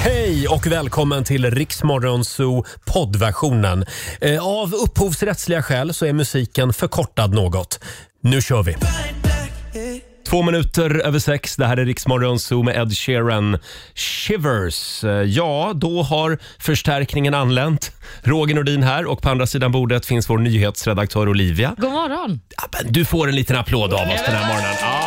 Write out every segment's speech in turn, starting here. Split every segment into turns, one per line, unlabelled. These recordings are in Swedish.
Hej och välkommen till Riksmorgonzoo poddversionen. Eh, Av upphovsrättsliga skäl så är musiken förkortad något. Nu kör vi! Två minuter över sex. Det här är Riksmorgonzoo med Ed Sheeran. Shivers. Eh, Ja, då har förstärkningen anlänt. Roger Nordin här och på andra sidan bordet finns vår nyhetsredaktör Olivia.
God morgon.
Ja, men Du får en liten applåd av oss den här morgonen. Ja,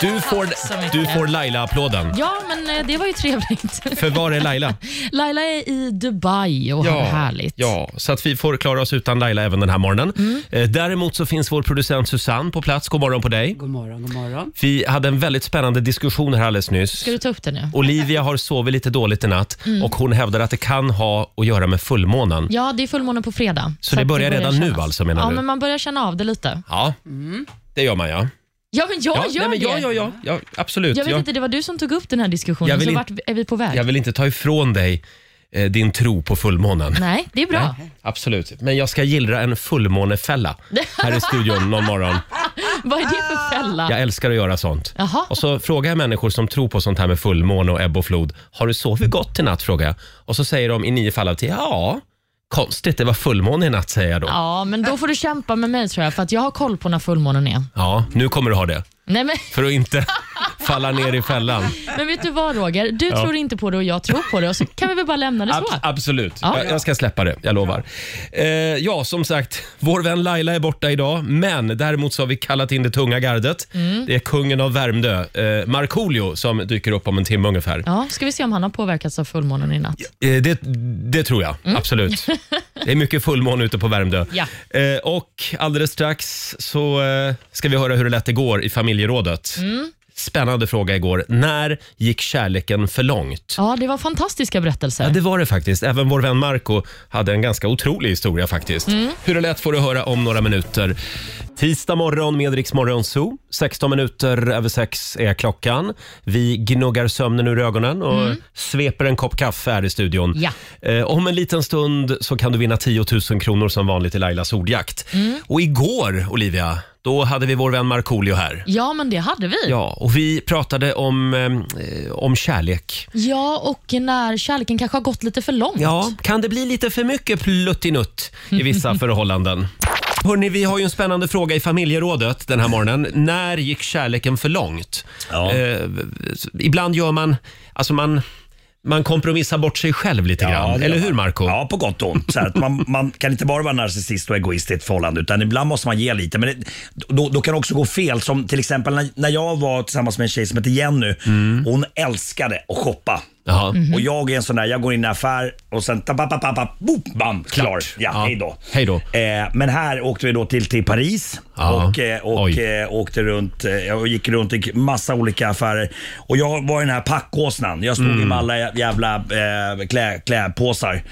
du får,
så mycket.
du får Laila-applåden.
Ja, men eh, det var ju trevligt.
För var är Laila?
Laila är i Dubai och har det härligt. Mm.
Ja, så att vi får klara oss utan Laila även den här morgonen. Eh, Däremot så finns vår producent Susanne på plats. God morgon på dig.
God morgon, god morgon.
Vi hade en väldigt spännande diskussion här alldeles nyss.
Ska du ta upp det nu?
Olivia har sovit lite dåligt i natt och hon hävdar att det kan ha att göra med fullmånen.
Ja, det är fullmåne på fredag.
Så det
att
börjar redan nu
kännas.
alltså, menar
Ja,
du?
men man börjar känna av det lite.
Ja, det gör man ja.
Mm. Ja, men jag
Ja,
gör
nej, men ja,
det.
ja, ja, ja absolut.
Jag vet
jag,
inte, det var du som tog upp den här
Jag
diskussionen,
vill
så
in-
vart är vi på väg?
jag vill inte ta ifrån dig eh, din tro på fullmånen.
Nej, det är bra.
Absolut, men jag ska gillra en fullmånefälla här i studion någon morgon.
Vad är det för fälla?
Jag älskar att göra sånt.
Jaha.
Och så frågar jag människor som tror på sånt här med fullmåne och ebb och flod. Har du sovit gott i natt? frågar jag. Och så säger de i nio fall av tio, ja. Konstigt, det var fullmåne i natt säger jag då. Ja.
Ja, men då får du kämpa med mig tror jag, för att jag har koll på när fullmånen är.
nu kommer du ha det.
Nej, men,
För att inte falla ner i fällan.
men vet du vad Roger? Du tror inte på det och jag tror på det och så kan vi väl bara lämna det så.
Ab- absolut,
Ja.
jag, jag ska släppa det, jag lovar. Eh, ja, som sagt, vår vän Laila är borta idag, men däremot så har vi kallat in det tunga gardet.
Mm.
Det är kungen av Värmdö, eh, Markoolio, som dyker upp om en timme ungefär.
Ja, ska vi se om han har påverkats av fullmånen i natt.
Eh, Det, det tror jag, absolut. Det är mycket fullmåne ute på Värmdö.
Mm. Ja.
Eh, och alldeles strax så eh, ska vi höra hur det lät igår i familjerådet.
Mm.
Spännande fråga igår. När gick kärleken för långt?
Ja, det var fantastiska berättelser.
Ja, det var det faktiskt. Även vår vän Marco hade en ganska otrolig historia faktiskt.
Mm.
Hur det lät får du höra om några minuter. Tisdag morgon med Rix Morgon Zoo. 16 minuter över sex är klockan. Vi gnuggar sömnen ur ögonen och sveper en kopp kaffe här i studion.
Mm. Ja.
Eh, om en liten stund så kan du vinna 10 000 kronor som vanligt i Lailas ordjakt.
Mm.
Och igår, Olivia, då hade vi vår vän Markoolio här.
Ja, men det hade vi. Ja.
Ja, och vi pratade om, eh, om kärlek.
och när kärleken kanske har gått lite för långt.
Ja, kan det bli lite för mycket pluttinutt i vissa förhållanden? Hörrni, vi har ju en spännande fråga i familjerådet den här morgonen. När gick kärleken för långt?
Ja.
Eh, ibland gör man, alltså man, man kompromissar bort sig själv lite
det
grann.
gör
Eller
man.
hur Marco?
Ja, på gott och ont. Så här, att man, man kan inte bara vara narcissist och egoist i ett förhållande utan ibland måste man ge lite. Men det, då, då kan det också gå fel. Som till exempel när, när jag var tillsammans med en tjej som heter Jenny.
Mm.
Hon älskade att shoppa.
Jaha.
Och jag är en sån där, jag går in i en affär och sen ta, bam, bam, bam, bam, klar. Ja,
Ja.
hej då.
Hej då.
Eh, men här åkte vi då till, till Paris
Ja.
och, eh, och
Oj.
eh, åkte runt eh, jag gick runt i massa olika affärer. Och jag var i den här packkåsnan. Jag stod
Mm.
i med alla jä- jävla eh, klä, klädpåsar.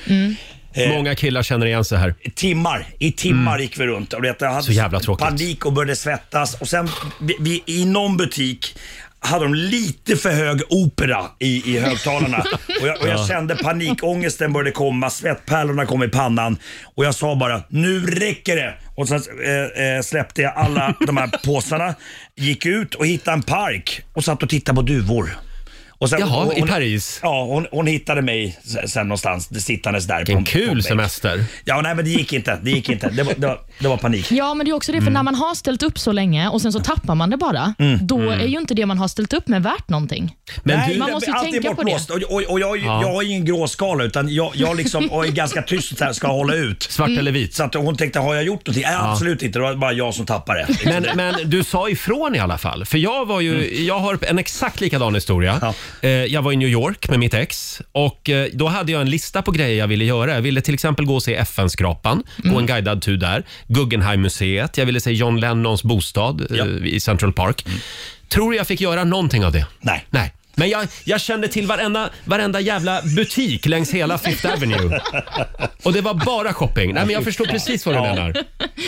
Många killar känner igen sig här.
I Timmar, i timmar gick vi runt. Och vet, jag hade
Mm. Så jävla tråkigt.
panik och började svettas. Och sen vi, vi, i någon butik hade de lite för hög opera i, i högtalarna. och jag, och jag kände panikångesten började komma, svettpärlorna kom i pannan. Och jag sa bara, nu räcker det. Och sen eh, eh, släppte jag alla de här påsarna, gick ut och hittade en park och satt och tittade på duvor. Och sen,
Jaha,
hon-
i
hon-
Paris.
Ja, hon, hon hittade mig sen- sen någonstans sittandes där. på-
Vilken
på en
kul
bänk.
semester.
Ja, nej men det gick inte. Det gick inte. Det var, det var, det var panik.
Ja, men det är också
Mm.
det, för när man har ställt upp så länge och sen så tappar man det bara, då är ju inte det man har ställt upp med värt någonting.
Men
Nej,
du,
man måste ju
allt är
tänka på
bortblåst. Och, och, och jag, jag har ingen gråskala utan jag, jag liksom och är ganska tyst så här, ska hålla ut.
svart eller vit?
Så att hon tänkte, har jag gjort någonting? Nej, absolut inte. Det var bara jag som tappade. Liksom.
Men, men du sa ifrån i alla fall. För jag var ju, jag har en exakt likadan historia.
Mm. Ja.
Eh, jag var i New York med mitt ex och eh, då hade jag en lista på grejer jag ville göra. Jag ville till exempel gå och se FN-skrapan,
Mm.
gå en guidad tur där. Guggenheim-museet, jag ville se John Lennons bostad eh,
Ja. Mm.
i Central Park. Tror du jag fick göra någonting av det?
Nej.
Nej. Men jag, jag kände till varenda, varenda jävla butik längs hela Fifth Avenue. Och det var bara shopping. Nej, men jag förstår precis vad du
Ja.
menar.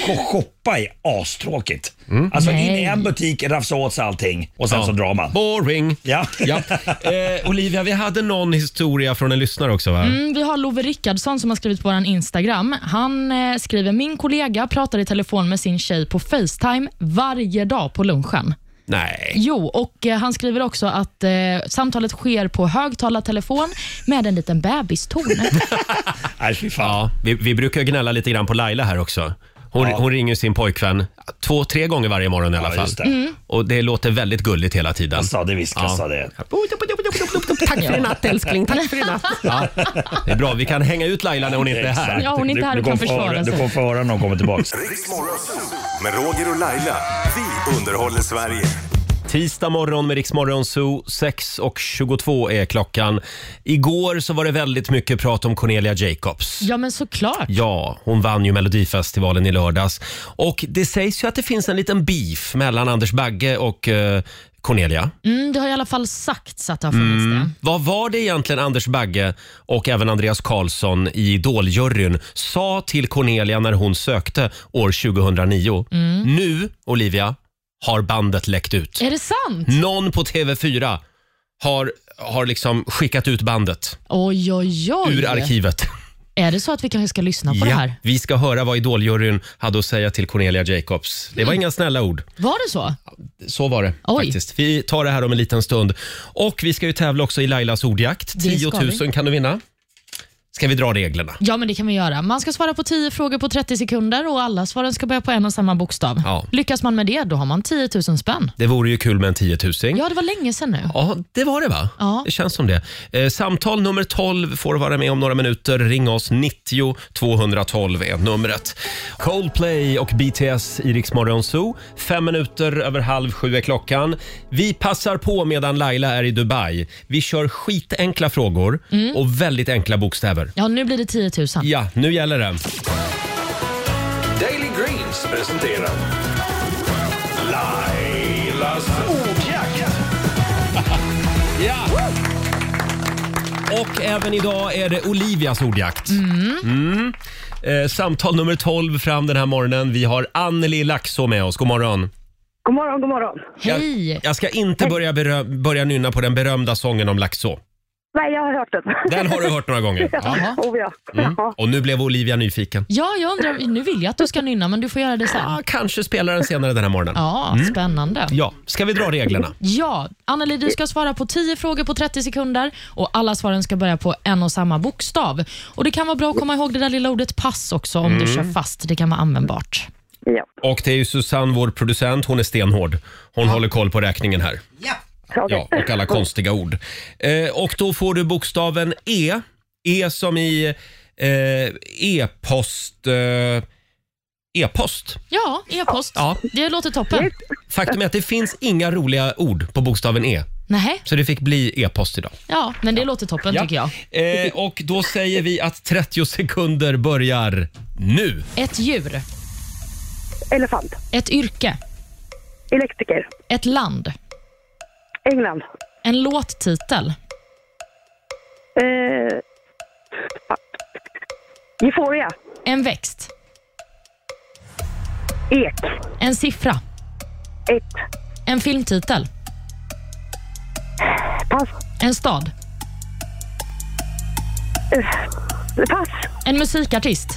Sh- Shoppa är astråkigt.
Mm.
Alltså in i
Nej.
en butik, rafsa åt sig allting och sen så drar man.
Boring.
Ja.
Ja. Eh, Olivia, vi hade någon historia från en lyssnare också va?
Mm, vi har Love Rickardsson som har skrivit på vår Instagram. Han eh, skriver, min kollega pratar i telefon med sin tjej på Facetime varje dag på lunchen.
Nej.
Jo, och eh, han skriver också att eh, samtalet sker på högtalartelefon med en liten bebiston.
Nej, fy fan.
Ja, vi, vi brukar gnälla lite grann på Laila här också. Hon, hon ringer sin pojkvän två, tre gånger varje morgon i alla
Ja,
fall.
just det. Alltså.
Och det låter väldigt gulligt hela tiden.
Jag sa det visst, jag
Ja.
sa det.
Tack för i natt älskling, tack för i natt. Ja, det är bra, vi kan hänga ut Laila när hon inte är här.
Ja, hon är inte här och kan försvara
sig.
sig.
Du kommer få höra när hon kommer tillbaka.
Riksmorgon Zoo med Roger och Laila. Vi underhåller Sverige.
Tisdag morgon med Riksmorgon Zoo, 6.22 är klockan. Igår så var det väldigt mycket prat om Cornelia Jacobs.
Ja, men såklart.
Ja, hon vann ju Melodifestivalen i lördags. Och det sägs ju att det finns en liten beef mellan Anders Bagge och eh, Cornelia.
Mm, det har i alla fall sagts att det har funnits
Mm.
det.
Vad var det egentligen Anders Bagge och även Andreas Karlsson i Idoljuryn sa till Cornelia när hon sökte år 2009?
Mm.
Nu, Olivia, har bandet läckt ut.
Är det sant?
Någon på TV4 har, har liksom skickat ut bandet
Oj, oj, oj.
ur arkivet.
Är det så att vi kanske ska lyssna på det här?
vi ska höra vad Idoljuryn hade att säga till Cornelia Jacobs. Det var
Mm.
inga snälla ord.
Var det så?
Så var det
Oj.
faktiskt. Vi tar det här om en liten stund. Och vi ska ju tävla också i Lailas ordjakt.
Det
10
ska
000 kan du vinna. Ska vi dra reglerna?
Ja, men det kan vi göra. Man ska svara på 10 frågor på 30 sekunder och alla svaren ska börja på en och samma bokstav.
Ja.
Lyckas man med det, då har man 10 000 spänn.
Det vore ju kul med en 10 000. Ja.
Ja, det var länge sedan nu.
det var det va?
Ja.
Det känns som det. Eh, samtal nummer 12 får vara med om några minuter. Ring oss, 90 212 är numret. Coldplay och BTS i Rix Morgon Zoo. Fem minuter över halv sju är klockan. Vi passar på medan Laila är i Dubai. Vi kör skitenkla frågor
Mm.
och väldigt enkla bokstäver.
Ja, nu blir det 10 000.
Ja, nu gäller det.
Daily Greens presenterar Lailas ordjakt.
Och även idag är det Olivias ordjakt. Mm. Eh, samtal nummer 12 fram den här morgonen. Vi har Anneli Laxå med oss. God morgon.
God morgon, god morgon.
Hej!
Jag ska inte börja, berö- börja nynna på den berömda sången om Laxå.
Nej, jag har hört den.
Den Mm. har du hört några gånger.
Ja. Oh, ja. Ja.
Och nu blev Olivia nyfiken.
Ja, jag undrar, nu vill jag att du ska nynna, men du får göra det sen.
Ah, kanske spelar den senare den här morgonen. Ja.
Ja, spännande.
Ska vi dra reglerna?
Ja, Anneli, du ska svara på 10 frågor på 30 sekunder och alla svaren ska börja på en och samma bokstav. Och Det kan vara bra att komma ihåg det där lilla ordet pass också om du kör fast. Det kan vara användbart.
ja.
Och det är ju Susanne, vår producent. Hon är stenhård. Hon håller koll på räkningen här.
okej.
Ja, och alla konstiga ord. Eh, och då får du bokstaven E. E som i eh, e-post. Eh, e-post.
Ja, e-post.
Ja.
Det låter toppen.
Faktum är att det finns inga roliga ord på bokstaven E.
Nej,
Så det fick bli e-post idag.
ja, men det låter toppen tycker jag.
Eh, och då säger vi att 30 sekunder börjar nu.
Ett djur,
Elefant.
ett yrke,
Elektriker.
ett land,
England.
en låttitel,
Eh. fan. Euphoria.
en växt,
Ek.
en siffra,
Ett.
en filmtitel,
Pass.
en stad,
Eh, Pass.
en musikartist.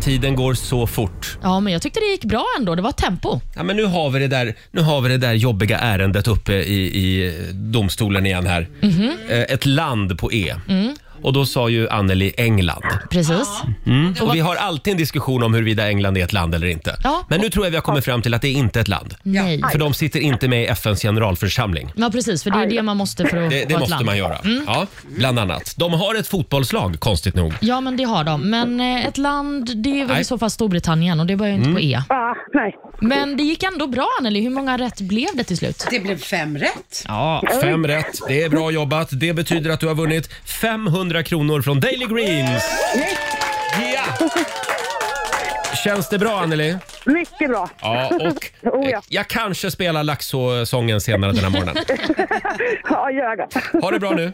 Tiden går så fort.
Ja, men jag tyckte det gick bra ändå. Det var tempo.
Ja, men nu, har vi det där, nu har vi det där jobbiga ärendet uppe i, i domstolen igen här.
Mhm.
Eh, Ett land på E.
Mm.
Och då sa ju Anneli England.
Precis.
Och vi har alltid en diskussion om huruvida England är ett land eller inte.
Ja.
Men nu tror jag vi har kommit fram till att det är inte ett land.
Nej.
För de sitter inte med i FNs generalförsamling.
Ja, precis. För det är det man måste för att
Det, det
ha ett
måste
land. Mm.
man göra. Ja, bland annat. De har ett fotbollslag, konstigt nog.
Ja, men det har de. Men eh, ett land, det är väl
Nej. Mm.
i så fall Storbritannien och det börjar ju inte på E.
Ah, nej.
Men det gick ändå bra, Anneli. Hur många rätt blev det till slut?
Det blev fem rätt.
Ja, fem rätt. Det är bra jobbat. Det betyder att du har vunnit 500 kronor från Daily Greens. Ja! Känns det bra, Anneli?
Mycket bra.
Ja, och
Oh, ja.
eh, jag kanske spelar Laxå-sången senare den här morgonen.
Ja, gör det.
Ha det bra nu.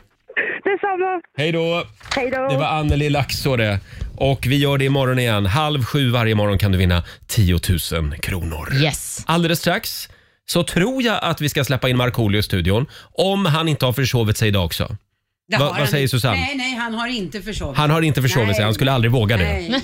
Detsamma.
Hej då!
Hej då.
Det var Anneli Laxå det. Och vi gör det imorgon igen. Halv sju varje morgon kan du vinna 10 000 kronor.
Yes.
Alldeles strax så tror jag att vi ska släppa in Markoolio i studion. Om han inte har försovit sig idag också.
Det
Va-
har
vad
han
säger
inte.
Susanne?
Nej, nej, han har inte försovit.
Han har inte försovit sig,
Nej.
han skulle aldrig våga det.
Nej.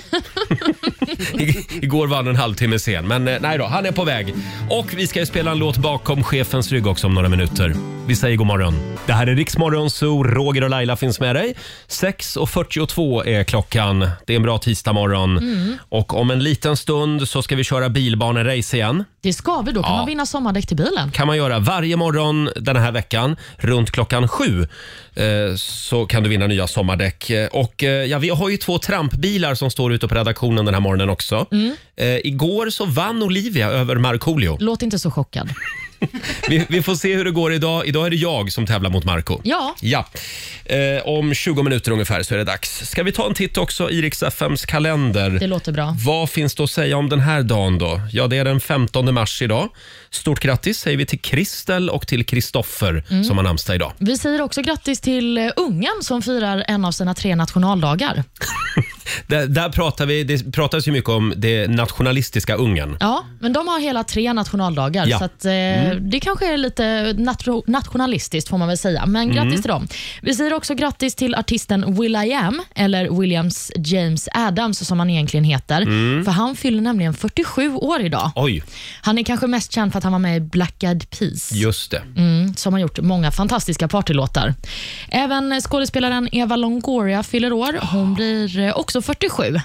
I- Igår var han en halvtimme sen, men eh, nej då, han är på väg. Och vi ska ju spela en låt bakom chefens rygg också om några minuter. Vi säger god morgon. Det här är Riksmorgon, så Roger och Laila finns med dig. 6.42 är klockan. Det är en bra tisdagmorgon.
Mm.
Och om en liten stund så ska vi köra bilbanerace igen
Det ska vi. Då kan
Ja.
man vinna sommardäck till bilen.
kan man göra varje morgon den här veckan runt klockan sju. Eh, så kan du vinna nya sommardäck. Eh, Och eh, ja, vi har ju två trampbilar som står ute på redaktionen den här morgonen också. Eh, igår så vann Olivia över Markoolio.
Låt inte så chockad.
Vi, vi får se hur det går idag. Idag är det jag som tävlar mot Marco.
Ja.
Ja. Eh, om 20 minuter ungefär så är det dags. Ska vi ta en titt också i Rix FMs kalender?
Det låter bra.
Vad finns det att säga om den här dagen då? Ja, det är den 15 mars idag. Stort grattis säger vi till Kristel och till Kristoffer
Mm.
som har namnsdag idag.
Vi säger också grattis till eh, Ungern som firar en av sina tre nationaldagar.
Där, där pratar vi, det pratas ju mycket om det nationalistiska Ungern.
Ja, men de har hela tre nationaldagar,
Ja. Mm.
så att, eh, det kanske är lite natro- nationalistiskt får man väl säga. Men
Mm.
grattis till dem. Vi säger också grattis till artisten Will.i.am, eller Williams James Adams som han egentligen heter.
Mm.
För han fyller nämligen 47 år idag.
Oj,
Han är kanske mest känd för att han var med i Black Eyed Peas
just det.
som har gjort många fantastiska partylåtar. Även skådespelaren Eva Longoria fyller år. Hon blir eh, också 47.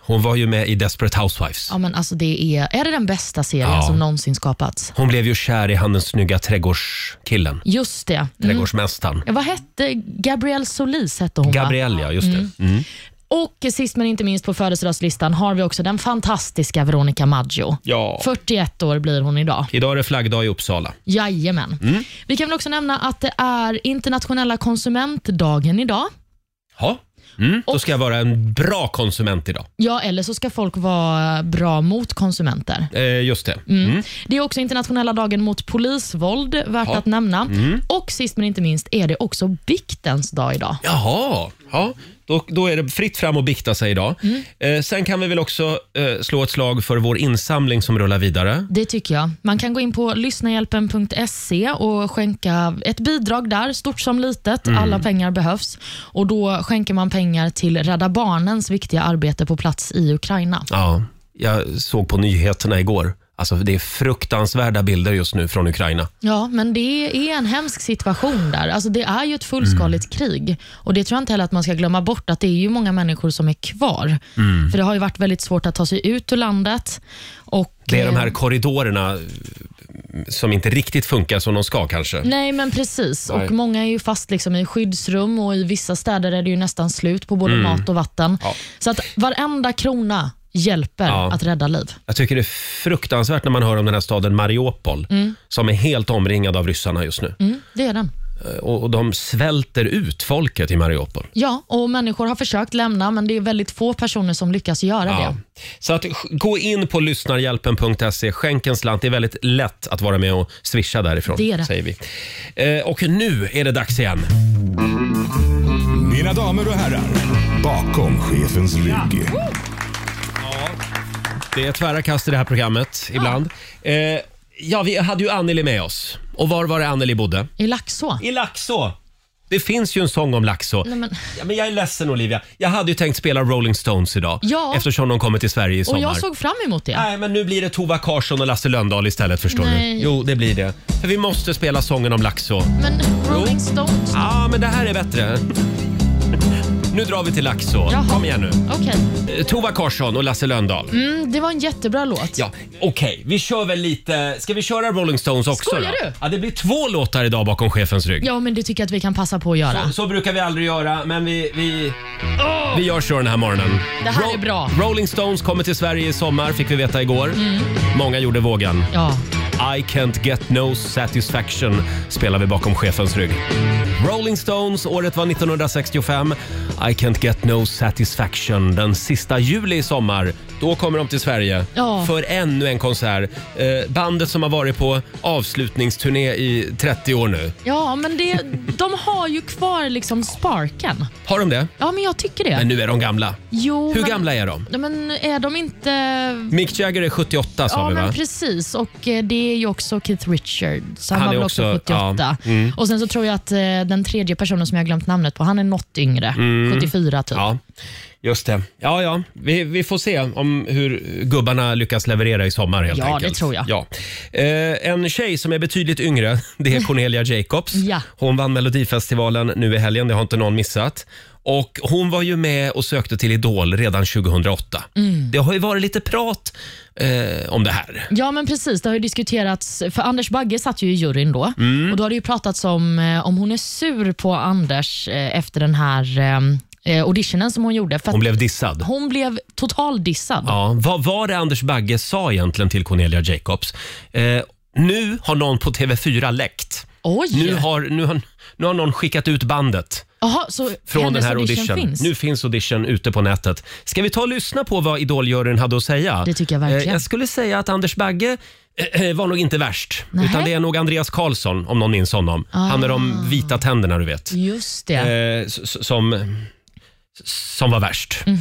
Hon var ju med i Desperate Housewives.
Ja, men alltså det är, är det den bästa serien
Ja.
som någonsin skapats?
Hon blev ju kär i han den snygga trädgårdskillen,
Just det. Mm.
trädgårdsmästaren.
Vad hette Gabrielle Solis hette hon va?
Gabrielle, ja, just det. Mm.
Och sist men inte minst på födelsedagslistan har vi också den fantastiska Veronica Maggio.
Ja.
41 år blir hon idag.
Idag är det flaggdag i Uppsala.
Jajamän.
Mm.
Vi kan väl också nämna att det är internationella konsumentdagen idag.
Ja. Mm. Då ska jag vara en bra konsument idag.
Ja, eller så ska folk vara bra mot konsumenter.
Eh, just det.
Mm. Det är också internationella dagen mot polisvåld, värt att nämna.
Mm.
Och sist men inte minst är det också biktens dag idag.
Jaha, ja. då, då är det fritt fram att bikta sig idag.
Mm.
Eh, sen kan vi väl också eh, slå ett slag för vår insamling som rullar vidare.
Det tycker jag. Man kan gå in på lyssnahjälpen.se och skänka ett bidrag där, stort som litet.
Mm.
Alla pengar behövs. Och Då skänker man pengar till Rädda Barnens viktiga arbete på plats i Ukraina.
Ja, jag såg på nyheterna igår. Alltså, det är fruktansvärda bilder just nu från Ukraina.
Ja, men det är en hemsk situation där. Alltså, det är ju ett fullskaligt
Mm.
krig. Och Det tror jag inte heller att man ska glömma bort, att det är ju många människor som är kvar.
Mm.
För Det har ju varit väldigt svårt att ta sig ut ur landet. Och,
Det är de
eh,
här korridorerna eh, som inte riktigt funkar som de ska kanske.
Nej, men precis.
Nej.
Och Många är ju fast liksom i skyddsrum och i vissa städer är det ju nästan slut på
Mm.
både mat och vatten. Så att varenda krona hjälper
Ja.
att rädda liv.
Jag tycker det är fruktansvärt när man hör om den här staden Mariupol som är helt omringad av ryssarna just nu.
Mm, det är den.
Eh, Och, och de svälter ut folket i Mariupol.
Ja, och människor har försökt lämna, men det är väldigt få personer som lyckas göra
Ja.
det.
Så att, sk- gå in på lyssnarhjälpen.se, skänk en slant. Det är väldigt lätt att vara med och swisha därifrån.
Det är det.
Säger vi. Eh, och nu är det dags igen.
Mina damer och herrar, bakom chefens rygg.
Det är tvära kast i det här programmet ibland. Eh, ja, vi hade ju Anneli med oss. Och var var det Anneli bodde?
I Laxå.
I Laxå. Det finns ju en sång om Laxå.
Nej, men,
Ja, men jag är ledsen Olivia. Jag hade ju tänkt spela Rolling Stones idag.
Ja.
Eftersom de kommer till Sverige i sommar.
och jag såg fram emot det.
Nej, men nu blir det Tova Karsson och Lasse Lönndahl istället förstår du.
Nej.
Jo, det blir det. För vi måste spela sången om Laxå.
Men Rolling Stones.
Ja, men det här är bättre. Nu drar vi till Laxå.
Jaha.
Kom igen nu.
Okej.
Eh, Tova Karsson och Lasse Lönndahl.
Mm, det var en jättebra låt.
Ja, okej. Vi kör väl lite... Ska vi köra Rolling Stones också
Skojar
då?
du?
Ja, det blir två låtar idag bakom chefens rygg.
Ja, men det tycker jag att vi kan passa på att göra.
Så, så brukar vi aldrig göra, men vi... Vi, vi gör så den här morgonen.
Det här är bra. Mm.
Rolling Stones kommer till Sverige i sommar, fick vi veta igår. Många gjorde vågen.
Ja.
I can't get no satisfaction spelar vi bakom chefens rygg. Rolling Stones, året var 1965. I can't get no satisfaction den sista juli i sommar. Då kommer de till Sverige
Ja.
för ännu en konsert. Eh, bandet som har varit på avslutningsturné i 30 år nu.
ja, men det, de har ju kvar liksom sparken.
Har de det?
Ja, men jag tycker det.
Men nu är de gamla.
Jo,
Hur
men,
gamla är de?
Ja, Men är de inte...
Mick Jagger är 78 sa
Ja,
vi va?
men precis. Och eh, det är ju också Keith Richards. Han,
Han
var
är
väl också,
också- Mm.
78. Och sen så tror jag att eh, den tredje personen som jag har glömt namnet på, han är något yngre. 74 typ.
Mm. Ja.
Just det.
Ja, ja. Vi, vi får se om hur gubbarna lyckas leverera i sommar helt
Ja, det
enkelt.
tror jag.
Ja. Eh, en tjej som är betydligt yngre, det är Cornelia Jacobs.
Ja.
Hon vann Melodifestivalen nu i helgen, det har inte någon missat. Och hon var ju med och sökte till Idol redan 2008.
Mm.
Det har ju varit lite prat eh, om det här.
Ja, men precis. Det har ju diskuterats, för Anders Bagge satt ju i juryn då
Mm.
och då har det ju pratats om eh, om hon är sur på Anders eh, efter den här eh, auditionen som hon gjorde. För att
Hon blev dissad.
hon blev total dissad.
Ja, vad var det Anders Bagge sa egentligen till Cornelia Jacobs? Eh, nu har någon på TV4 läckt.
Oj!
Nu har, nu, har, nu har någon skickat ut bandet
Jaha, så
från
hennes
den här audition.
finns?
Nu finns audition ute på nätet. Ska vi ta och lyssna på vad Idoljuryn hade att säga?
Det tycker jag verkligen.
Eh, Jag skulle säga att Anders Bagge eh, eh, var nog inte värst,
Nej.
utan det är nog Andreas Karlsson, om någon minns honom. Han med
Ah.
de vita tänderna, du vet.
Just det.
Eh, s- s- som, s- som var värst.
Mhm.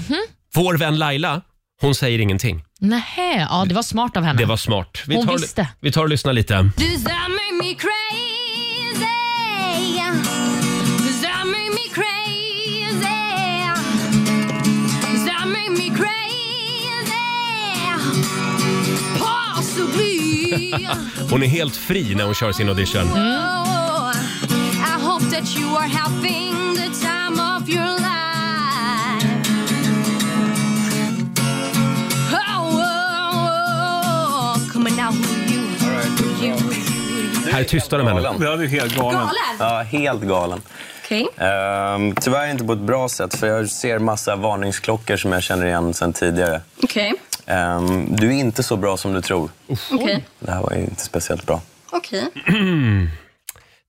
Vår vän Laila, hon säger ingenting.
Nähä, ja det var smart av henne.
Det var smart. Vi
Hon
tar,
visste.
Vi tar och lyssnar lite.
Does that make me crazy? Does that make me crazy? Does that make me crazy? Possibly.
Hon är helt fri när hon kör sin audition.
Oh, I hope that you are having the time of your life. Oh, oh, oh. Coming out with you. you.
Här tystar de henne.
Ja, du är helt galen.
Galen!
Ja, helt galen.
Okej.
Ehm, tyvärr inte på ett bra sätt, för jag ser massa varningsklockor som jag känner igen sedan tidigare.
Okej.
Ehm, du är inte så bra som du tror.
Okej.
Det här var ju inte speciellt bra.
Okej.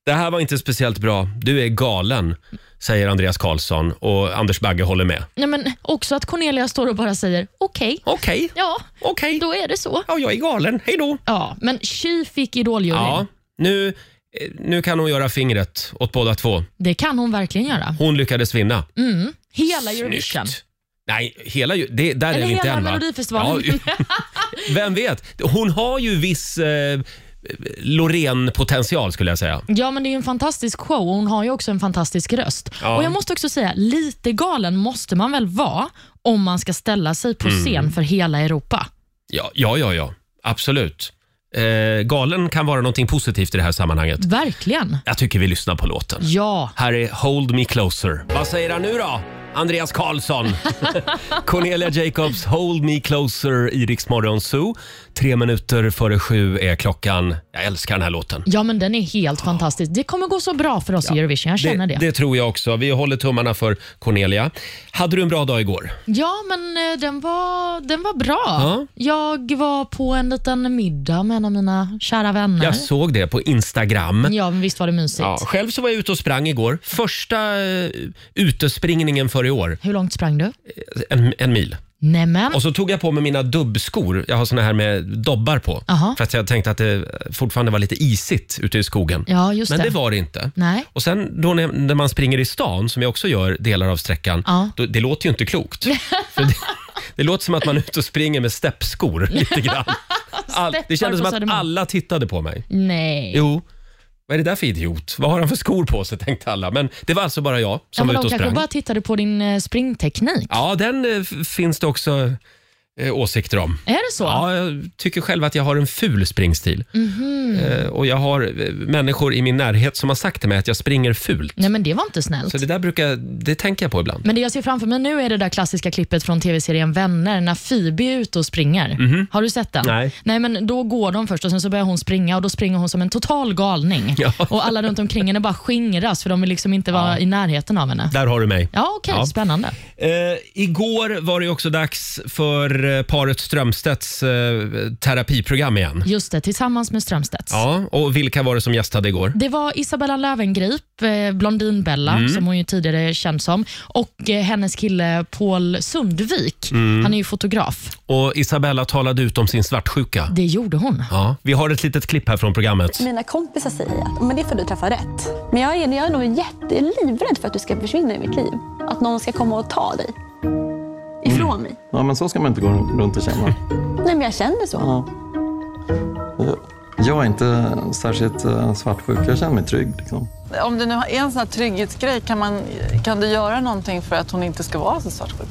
Det här var inte speciellt bra. Du är galen, säger Andreas Karlsson och Anders Bagge håller med.
Nej, men också att Cornelia står och bara säger okej.
Okej,
Ja,
okej.
då är det så.
Ja, jag är galen. Hej då. Mm.
Ja, men Chi fick idoljuryn.
Ja, nu, eh, nu kan hon göra fingret åt båda två.
Det kan hon verkligen göra.
Hon lyckades vinna.
Hela Eurovision.
Nej, hela, ju- det, där är
Eller
vi inte
hela
än va?
Melodifestivalen.
Ja, vem vet? Hon har ju viss eh, Loreen-potential skulle jag säga.
Ja, men det är ju en fantastisk show och hon har ju också en fantastisk röst.
Ja.
Och jag måste också säga, lite galen måste man väl vara om man ska ställa sig på
Mm.
scen för hela Europa.
Ja, ja, ja. ja. Absolut. Eh, galen kan vara någonting positivt i det här sammanhanget.
Verkligen.
Jag tycker vi lyssnar på låten.
Ja.
Här är Hold Me Closer. Vad säger han nu då? Andreas Karlsson. Cornelia Jacobs Hold Me Closer i Rix Morgon Zoo. Tre minuter före sju är klockan. Jag älskar den här låten.
Ja, men den är helt fantastisk. Det kommer gå så bra för oss i Eurovision, jag känner det.
det tror jag också. Vi håller tummarna för Cornelia. Hade du en bra dag igår?
Ja, men eh, den var, den var bra.
Ja.
Jag var på en liten middag med en av mina kära vänner.
Jag såg det på Instagram.
Ja, men visst var det mysigt.
Ja, själv så var jag ute och sprang igår. Första eh, utespringningen för i år.
Hur långt sprang du?
En, en mil.
Nämen.
Och så tog jag på mig mina dubbskor. Jag har såna här med dobbar på.
Aha.
För att jag tänkte att det fortfarande var lite isigt ute i skogen.
Ja, just
Men det
det.
var det inte.
Nej.
Och sen då när, när man springer i stan, som jag också gör delar av sträckan,
Ja.
då, det låter ju inte klokt. För det, det låter som att man är ute och springer med steppskor lite grann. All, det
Steppar på
kändes som att
Södermalm.
alla tittade på mig.
Nej.
Jo. Vad är det där för idiot? Vad har han för skor på sig, tänkte alla. Men det var alltså bara jag
ja,
som
men
var ute
de
och
kanske
sprang.
bara tittade på din eh, springteknik.
Ja, den eh, f- finns det också eh, åsikter om.
Är det så?
Ja, jag tycker själv att jag har en ful springstil. Eh, och jag har eh, människor i min närhet som har sagt till mig att jag springer fult.
Nej, men det var inte snällt.
Så det där brukar jag, det tänker jag på ibland.
Men det jag ser framför mig nu är det där klassiska klippet från tv-serien Vänner när Phoebe är ute och springer. Har du sett den?
Mhm. Nej.
Nej, men då går de först och sen så börjar hon springa och då springer hon som en total galning.
Ja.
Och alla runt omkring henne bara skingras för de vill liksom inte vara i närheten av henne.
Där har du mig.
Ja, okej.
Ja.
Spännande.
Eh, igår var det ju också dags för eh, paret Strömstedts eh, terapiprogram igen.
Just det, tillsammans med Strömstedts.
Ja, och vilka var det som gästade igår?
Det var Isabella Löwengrip, eh, Blondinbella,
Mm.
som hon ju tidigare är känd som, och eh, hennes kille Paul Sundvik.
Mm.
Han är ju fotograf.
Och Isabella talade ut om sin svartsjuka.
Det gjorde hon.
Ja, vi har ett litet klipp här från programmet.
Mina kompisar säger att men det är för att du träffar rätt. Men jag är, jag är nog jättelivrädd för att du ska försvinna i mitt liv. Att någon ska komma och ta dig. Ifrån
Mm.
mig.
Ja, men så ska man inte gå runt och känna.
Nej, men jag känner så.
Jag är inte särskilt eh, svartsjuk. Jag känner mig trygg. Liksom.
Om det nu är en sån här trygghetsgrej, kan, man, kan du göra någonting för att hon inte ska vara så svartsjuk?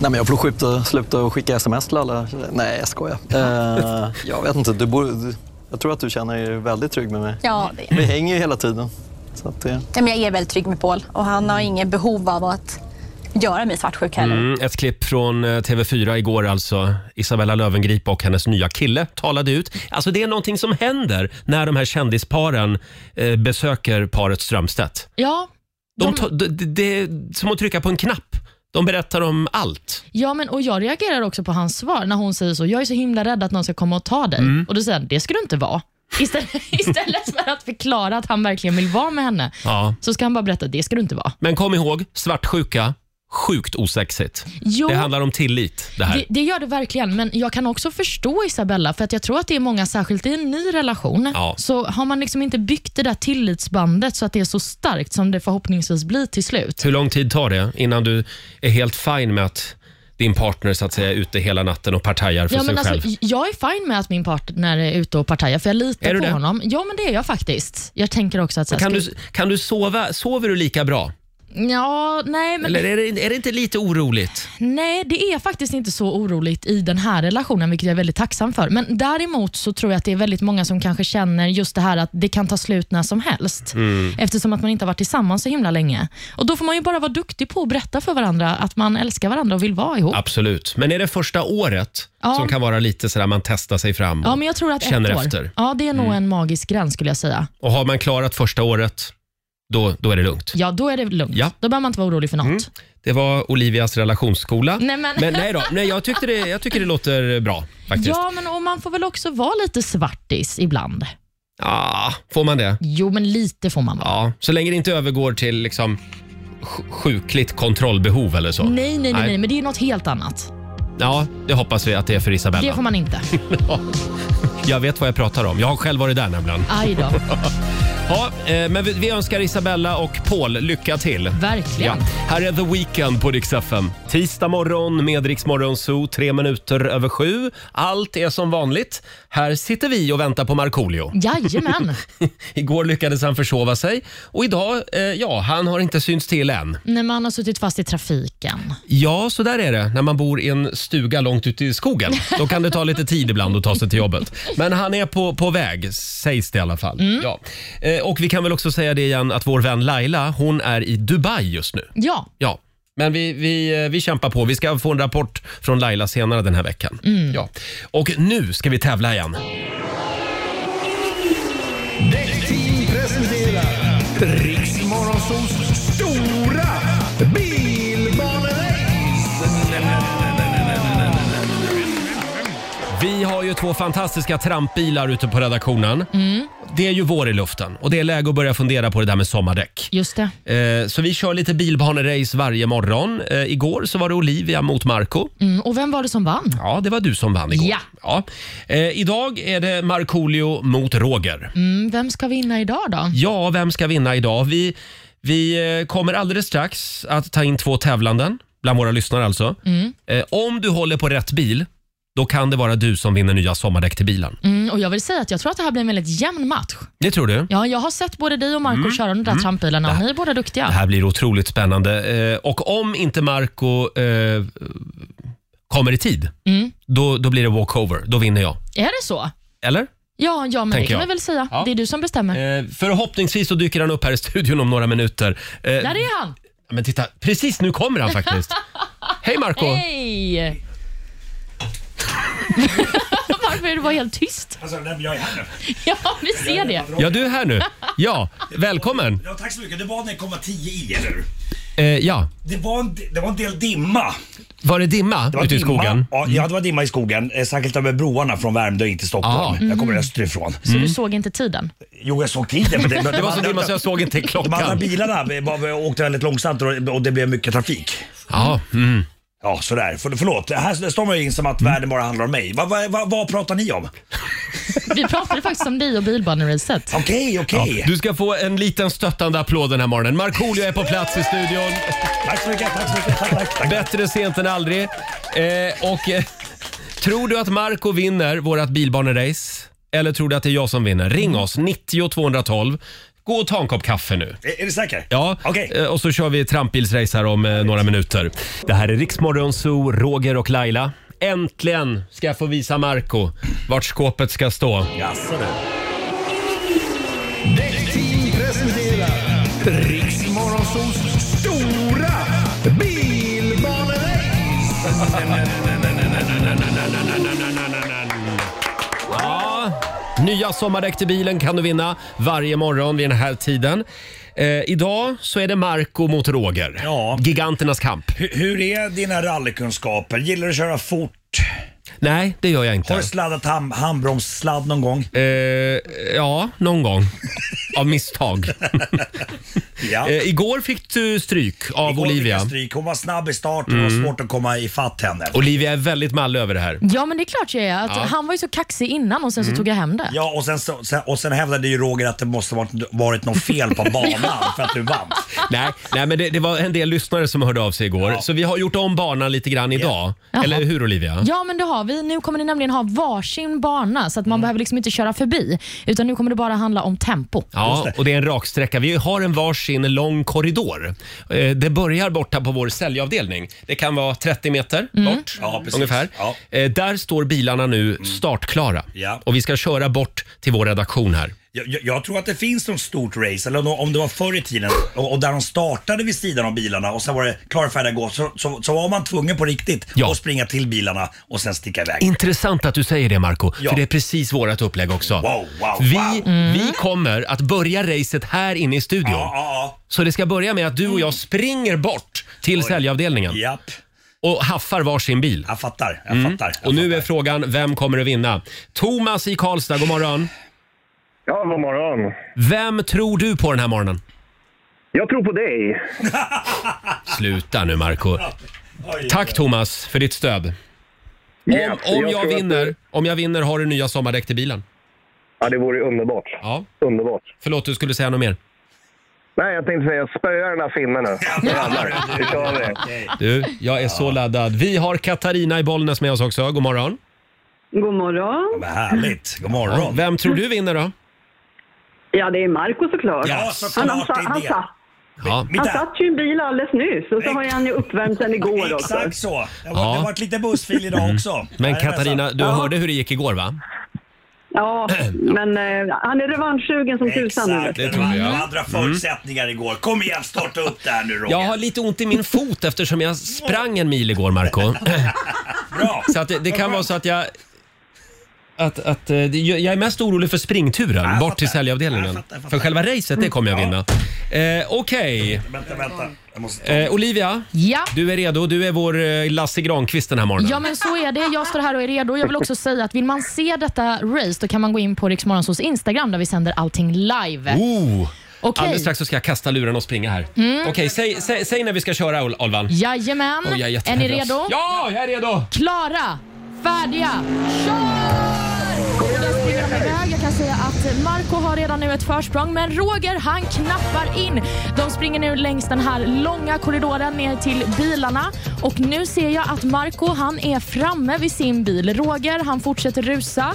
Nej, men jag får skjuta, sluta skicka sms till alla. Nej, jag skojar. Eh, jag vet inte. Du borde, du, jag tror att du känner dig väldigt trygg med mig.
Ja, det är
Vi hänger ju hela tiden. Så att det...
ja, men Jag är väldigt trygg med Paul och han har inget behov av att göra mig svartsjuk heller.
Mm, ett klipp från eh, TV4 igår alltså. Isabella Löwengrip och hennes nya kille talade ut. Alltså det är någonting som händer när de här kändisparen eh, besöker paret Strömstedt.
Ja,
De ta, det, det det är som att trycka på en knapp. De berättar om allt.
Ja, men och jag reagerar också på hans svar när hon säger så. Jag är så himla rädd att någon ska komma och ta dig.
Mm.
Och då säger han, det ska du inte vara. Istället, istället för att förklara att han verkligen vill vara med henne,
Ja.
så ska han bara berätta, det ska du inte vara.
Men kom ihåg, svartsjuka, sjukt osexigt.
Jo.
Det handlar om tillit det här.
Det, det gör det verkligen, men jag kan också förstå Isabella, för att jag tror att det är många, särskilt i en ny relation,
Ja.
så har man liksom inte byggt det där tillitsbandet så att det är så starkt som det förhoppningsvis blir till slut.
Hur lång tid tar det innan du är helt fin med att din partner så att säga är ute hela natten och partajar för
Ja,
sig
men
själv?
alltså, jag är fine med att min partner är ute och partajar, för jag litar
Är du
på
det?
honom. Ja, men det är jag faktiskt. Jag tänker också att... Så här,
Kan
ska-
du, kan du sova? Sover du lika bra?
Ja, nej, men...
Eller är det, är det inte lite oroligt?
Nej, det är faktiskt inte så oroligt i den här relationen, vilket jag är väldigt tacksam för. Men däremot så tror jag att det är väldigt många som kanske känner just det här att det kan ta slut när som helst.
Mm.
Eftersom att man inte har varit tillsammans så himla länge. Och Då får man ju bara vara duktig på att berätta för varandra att man älskar varandra och vill vara ihop.
Absolut. Men är det första året
Ja.
som kan vara lite sådär man testar sig fram och
Ja, men jag tror att
känner
ett år.
efter?
Ja, det är nog
Mm.
en magisk gräns skulle jag säga.
Och har man klarat första året, då, då är det lugnt.
Ja, då är det lugnt.
Ja. Mm.
Då behöver man inte vara orolig för något.
Det var Olivias relationsskola.
Nej, men-
nej då, nej, jag, tyckte det, jag tycker det låter bra faktiskt.
Ja, men och man får väl också vara lite svartis ibland.
Ah, får man det?
Jo, men lite får man vara.
Ja, så länge det inte övergår till liksom sj- sjukligt kontrollbehov eller så.
Nej, nej, nej, nej, men det är något helt annat.
Ja, det hoppas vi att det är för Isabella.
Det får man inte.
Jag vet vad jag pratar om. Jag har själv varit där nämligen.
Aj då.
ja, eh, men vi, vi önskar Isabella och Paul lycka till.
Verkligen.
Ja. Här är The Weeknd på Rix FM. Tisdag morgon med Rix Morgon Zoo, tre minuter över sju. Allt är som vanligt. Här sitter vi och väntar på Markoolio.
Jajamän.
Igår lyckades han försova sig och idag, eh, ja, han har inte synts till än.
När man har suttit fast i trafiken.
Ja, så där är det när man bor i en stuga långt ute i skogen. Då kan det ta lite tid ibland att ta sig till jobbet. Men han är på, på väg, sägs det i alla fall. Ja. Eh, och vi kan väl också säga det igen att vår vän Laila, hon är i Dubai just nu.
Ja.
Ja, men vi, vi, eh, vi kämpar på. Vi ska få en rapport från Laila senare den här veckan.
Mm.
Ja. Och nu ska vi tävla igen.
Däckteam presenterar Riksmorgonsols stora
Vi har ju två fantastiska trampbilar ute på redaktionen. Det är ju vår i luften och det är läge att börja fundera på det där med sommardäck.
Just det.
Eh, Så vi kör lite bilbanerace varje morgon. Eh, Igår så var det Olivia mot Marco.
Mm. Och vem var det som vann?
Ja, det var du som vann igår.
Ja.
Eh, Idag är det Markoolio mot Roger.
Mm. Vem ska vinna idag då?
Ja, vem ska vinna idag? Vi, vi eh, kommer alldeles strax att ta in två tävlanden, bland våra lyssnare alltså.
Mm.
Eh, Om du håller på rätt bil, då kan det vara du som vinner nya sommardäck till bilen.
Mm. Och jag vill säga att jag tror att det här blir en väldigt jämn match.
Det tror du?
Ja, jag har sett både dig och Marco
Mm.
köra de där
Mm.
trampbilarna och ni är båda duktiga.
Det här blir otroligt spännande. Eh, Och om inte Marco eh, kommer i tid,
Mm.
då, då blir det walkover. Då vinner jag.
Är det så?
Eller?
Ja, ja men det
Tänker
kan
jag.
vi väl säga. Det är du som bestämmer.
Eh, Förhoppningsvis så dyker han upp här i studion om några minuter. Eh,
Där är han!
Men titta, precis nu kommer han faktiskt. Hej Marco!
Hej! Varför är du bara helt tyst?
Alltså, nej, men jag är här nu.
Ja, vi ser det.
Ja, du är här nu. Ja, välkommen.
Ja, tack så mycket. Det var när jag kom tio i, eller hur?
Eh, ja,
Det var, en, det var en del dimma.
var det dimma
Det var
ute i
dimma.
skogen? Mm.
Ja, ja, det var dimma i skogen. Eh, Särskilt över broarna från Värmdö in till Stockholm.
Ah.
Jag kommer österifrån.
Så du såg inte tiden?
Jo, jag såg tiden. Men det,
Det var så dimma så jag såg inte klockan.
De andra bilarna var- åkte väldigt långsamt och och det blev mycket trafik.
Ja, mm.
Ja, sådär. För, förlåt, här står man ju in som att världen bara handlar om mig. Vad vad vad- vad pratar ni om?
Vi pratade faktiskt om dig och bilbaneracet.
Okej, okej.
Ja, du ska få en liten stöttande applåd den här morgonen. Markoolio är på plats i studion.
Tack så mycket, tack så mycket. Tack, tack, tack.
Bättre sent än aldrig. Eh, och eh, tror du att Marco vinner vårt bilbanerace? Eller tror du att det är jag som vinner? Ring oss, 90 212. Gå och ta en kopp kaffe nu.
Är, är du säker?
Ja, eh, och så kör vi trampbilsrace här om eh, några minuter. Det här är Riksmorgon Zoo, Roger och Laila. Äntligen ska jag få visa Marco vart skåpet ska stå.
Jaså du.
Däckteam presenterar Riksmorgonsols stora bilbanerace.
Ja, nya sommardäck till bilen kan du vinna varje morgon vid den här tiden. Eh, idag så är det Marco mot Roger. Giganternas kamp.
Hur, hur är dina rallykunskaper? Gillar du att köra fort?
Nej, det gör jag inte.
Har du sladdat hand, handbromssladd någon gång?
Eh, ja, någon gång. Av misstag. Eh, igår fick du stryk av
Igår fick
Olivia.
jag Stryk. Hon var snabb i starten och
Mm.
var svårt att komma ifatt henne.
Olivia är väldigt mallig över det här.
Ja, men det är klart jag är. Att
Ja.
Han var ju så kaxig innan och sen så
Mm.
tog jag hem det.
Ja, och sen, så- sen, och sen hävdade ju Roger att det måste ha varit, varit något fel på banan för att du vann.
Nej, nej men det, det var en del lyssnare som hörde av sig igår. Så vi har gjort om banan lite grann idag.
Jaha.
Eller hur Olivia?
Ja, men det har vi. Nu kommer ni nämligen ha varsin bana så att
Mm.
man behöver liksom inte köra förbi. Utan nu kommer det bara handla om tempo.
Ja, och det är en raksträcka. Vi har en varsin lång korridor. Eh, Det börjar borta på vår säljavdelning. Det kan vara 30 meter
Mm.
bort
Ja, precis.
ungefär. Eh, Där står bilarna nu startklara.
Ja.
Och vi ska köra bort till vår redaktion här.
Jag, jag, jag tror att det finns något stort race, eller nå- om det var förr i tiden, och, och där de startade vid sidan av bilarna och sen var det klara, färdiga, gå. Så, så, så var man tvungen på riktigt att springa till bilarna och sen sticka iväg.
Intressant att du säger det Marco
Ja.
för det är precis vårt upplägg också. vi, vi kommer att börja racet här inne i studion. Så det ska börja med att du och jag springer bort till säljavdelningen. Och haffar varsin bil.
Jag fattar. Jag fattar jag
Mm. och nu är frågan, vem kommer att vinna? Thomas i Karlstad, god morgon.
Ja, god morgon.
Vem tror du på den här morgonen?
Jag tror på dig.
Sluta nu Marco. Tack Thomas för ditt stöd.
Yes,
Om, om,
jag
jag
tror att
vinner, om jag vinner har du nya sommardäck till bilen.
Ja, det vore underbart.
Ja.
Underbart.
Förlåt, du skulle säga något mer?
Nej, jag tänkte säga spöa den här finnen nu. Jävlar, nu kör vi.
Du, jag är så laddad. Vi har Katarina i Bollnäs med oss också. God morgon.
God morgon.
Vad härligt. God morgon.
Ja, vem tror du vinner då?
Ja, det är Marco såklart.
Ja, såklart
han,
det
han,
är
han,
det.
satt,
Ja.
han satt ju i en bil alldeles nyss och så har han ju uppvärmt sen igår också.
Exakt så. Det har,
Ja. Mm.
det har varit lite bussfil idag också.
Men
Nej,
Katarina,
nästan.
du hörde hur det gick igår va?
Ja, men eh, han är revanschsugen som tusan nu.
Exakt, det
tror
var
jag.
Mm.
Mm.
andra förutsättningar igår. Kom igen, starta upp det här nu Roger.
Jag har lite ont i min fot eftersom jag sprang en mil igår Marco.
Bra.
Så att det, det kan vara så att jag... Att, att, eh, det- jag är mest orolig för springturen bort till säljavdelningen. För själva racet, det kommer jag vinna. Eh, Okej.
Vänta, vänta. Jag måste...
Eh, Olivia,
Ja.
du är redo. Du är vår eh, Lasse Granqvist den här morgonen.
Ja, men så är det. Jag står här och är redo. Jag vill också säga att vill man se detta race då kan man gå in på Riksmorgonsos Instagram där vi sänder allting live.
Oh.
Okej.
Alldeles strax så ska jag kasta luren och springa här.
Mm.
Okej, säg, säg, säg när vi ska köra Ol- Olvan.
Jajamän.
Oj, jag är
är ni
jättenervös.
redo?
Ja, jag är redo!
Klara, färdiga, kör! Och där springer de iväg. Jag kan säga att Marco har redan nu ett försprång, men Roger han knappar in. De springer nu längs den här långa korridoren ner till bilarna och nu ser jag att Marco han är framme vid sin bil. Roger han fortsätter rusa.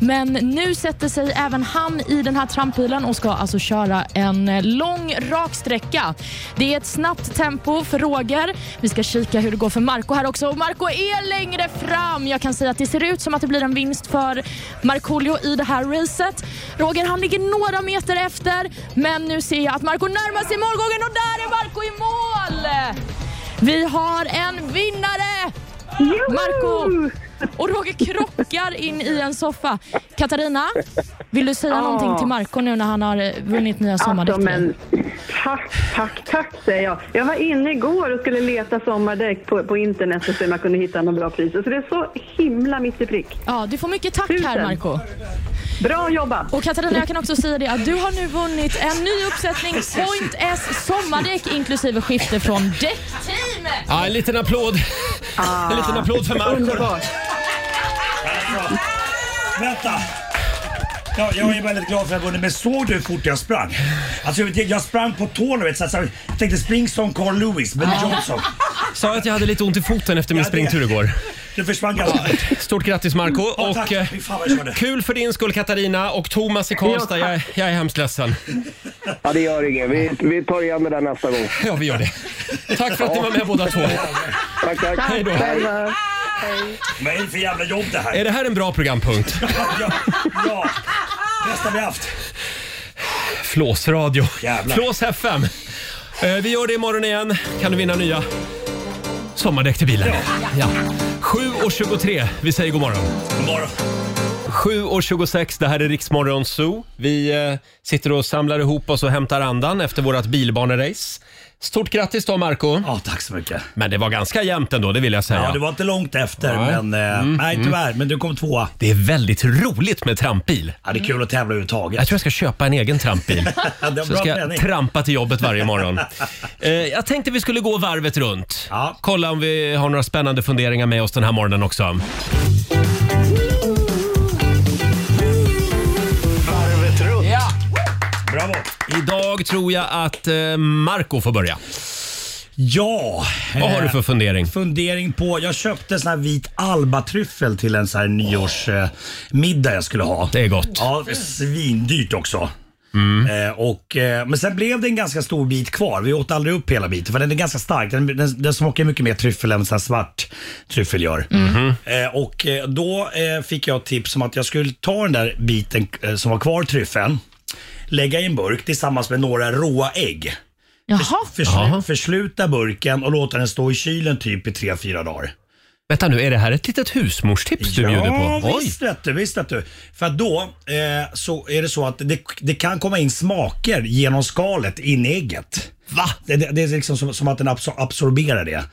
Men nu sätter sig även han i den här trampbilen och ska alltså köra en lång rak sträcka. Det är ett snabbt tempo för Roger. Vi ska kika hur det går för Marco här också. Och Marco är längre fram. Jag kan säga att det ser ut som att det blir en vinst för Markoolio i det här racet. Roger han ligger några meter efter men nu ser jag att Marco närmar sig målgången och där är Marco i mål! Vi har en vinnare! Marco! Och Roger krockar in i en soffa. Katarina, vill du säga
Ja.
någonting till Marco nu när han har eh, vunnit nya sommardäck?
Alltså, men tack, tack, tack säger jag. Jag var inne igår och skulle leta sommardäck på, på internet för att se om jag kunde hitta något bra pris. Så det är så himla mitt i prick.
Ja, du får mycket tack här Marco.
Bra jobbat!
Och Katarina, jag kan också säga det att du har nu vunnit en ny uppsättning Point S sommardäck inklusive skifte från däckteam.
Ja, en liten applåd.
Ah.
En liten applåd för Marco.
Underbart.
Vänta! Ja, jag är väldigt glad för att jag vunnit, men såg du hur fort jag sprang? Alltså, jag, vet, jag sprang på tårna, vet, så, så, jag tänkte spring som Carl Lewis, men Johnson.
Sa jag att jag hade lite ont i foten efter min springtur igår?
Nu försvann galanten.
Stort grattis Marco
Ja,
och
tack.
eh,
Fy fan vad jag körde.
kul för din skull Katarina och Thomas i Karlstad. Jag, jag är hemskt ledsen.
Ja, det gör inget. Vi, vi tar igen det där nästa gång.
Ja, vi gör det. Tack för att ni var med båda två.
Tack, tack.
Hej då.
Men för jävla jobb det här.
Är det här en bra programpunkt?
Ja, ja. bästa vi haft.
Flåsradio.
Jävlar.
Flås FM. Eh, Vi gör det imorgon igen. Kan du vinna nya sommardäck till bilen? Ja. 7.23. Vi säger god morgon.
God morgon.
7.26, det här är Riksmorgon Zoo. Vi eh, sitter och samlar ihop oss och hämtar andan efter vårt bilbanerace. Stort grattis då Marco
Ja, tack så mycket.
Men det var ganska jämnt ändå, det vill jag säga.
Ja, det var inte långt efter,
Nej.
men eh,
Mm,
nej
mm.
tyvärr. Men du kom tvåa.
Det är väldigt roligt med trampbil.
Ja, det är kul att tävla överhuvudtaget.
Jag tror jag ska köpa en egen trampbil.
Ja, det var
Så
bra
ska jag
träning.
trampa till jobbet varje morgon. Eh, jag tänkte vi skulle gå varvet runt. Kolla om vi har några spännande funderingar med oss den här morgonen också.
Varvet runt. Ja. Bravo.
Idag tror jag att eh, Marco får börja.
Ja.
Vad har du för fundering?
Fundering på, jag köpte sån här vit albatryffel till en sån här nyårsmiddag jag skulle ha.
Det är gott.
Ja, svindyrt också.
Mm.
Eh, och, eh, men sen blev det en ganska stor bit kvar. Vi åt aldrig upp hela biten för den är ganska stark. Den, den, den smakar mycket mer tryffel än sån här svart tryffel gör.
Mm. Mm-hmm.
Eh, och eh, då eh, fick jag tips om att jag skulle ta den där biten eh, som var kvar tryffeln, lägga i en burk tillsammans med några råa ägg.
Jaha.
Förslu- försluta burken och låta den stå i kylen typ i tre fyra dagar.
Vänta nu, är det här ett litet husmorstips du bjuder på?
Ja, visst vet du, visst vet du. För att då eh, så är det så att det, det kan komma in smaker genom skalet in i ägget.
Va?
Det, det, det är liksom som, som att den absor- absorberar det.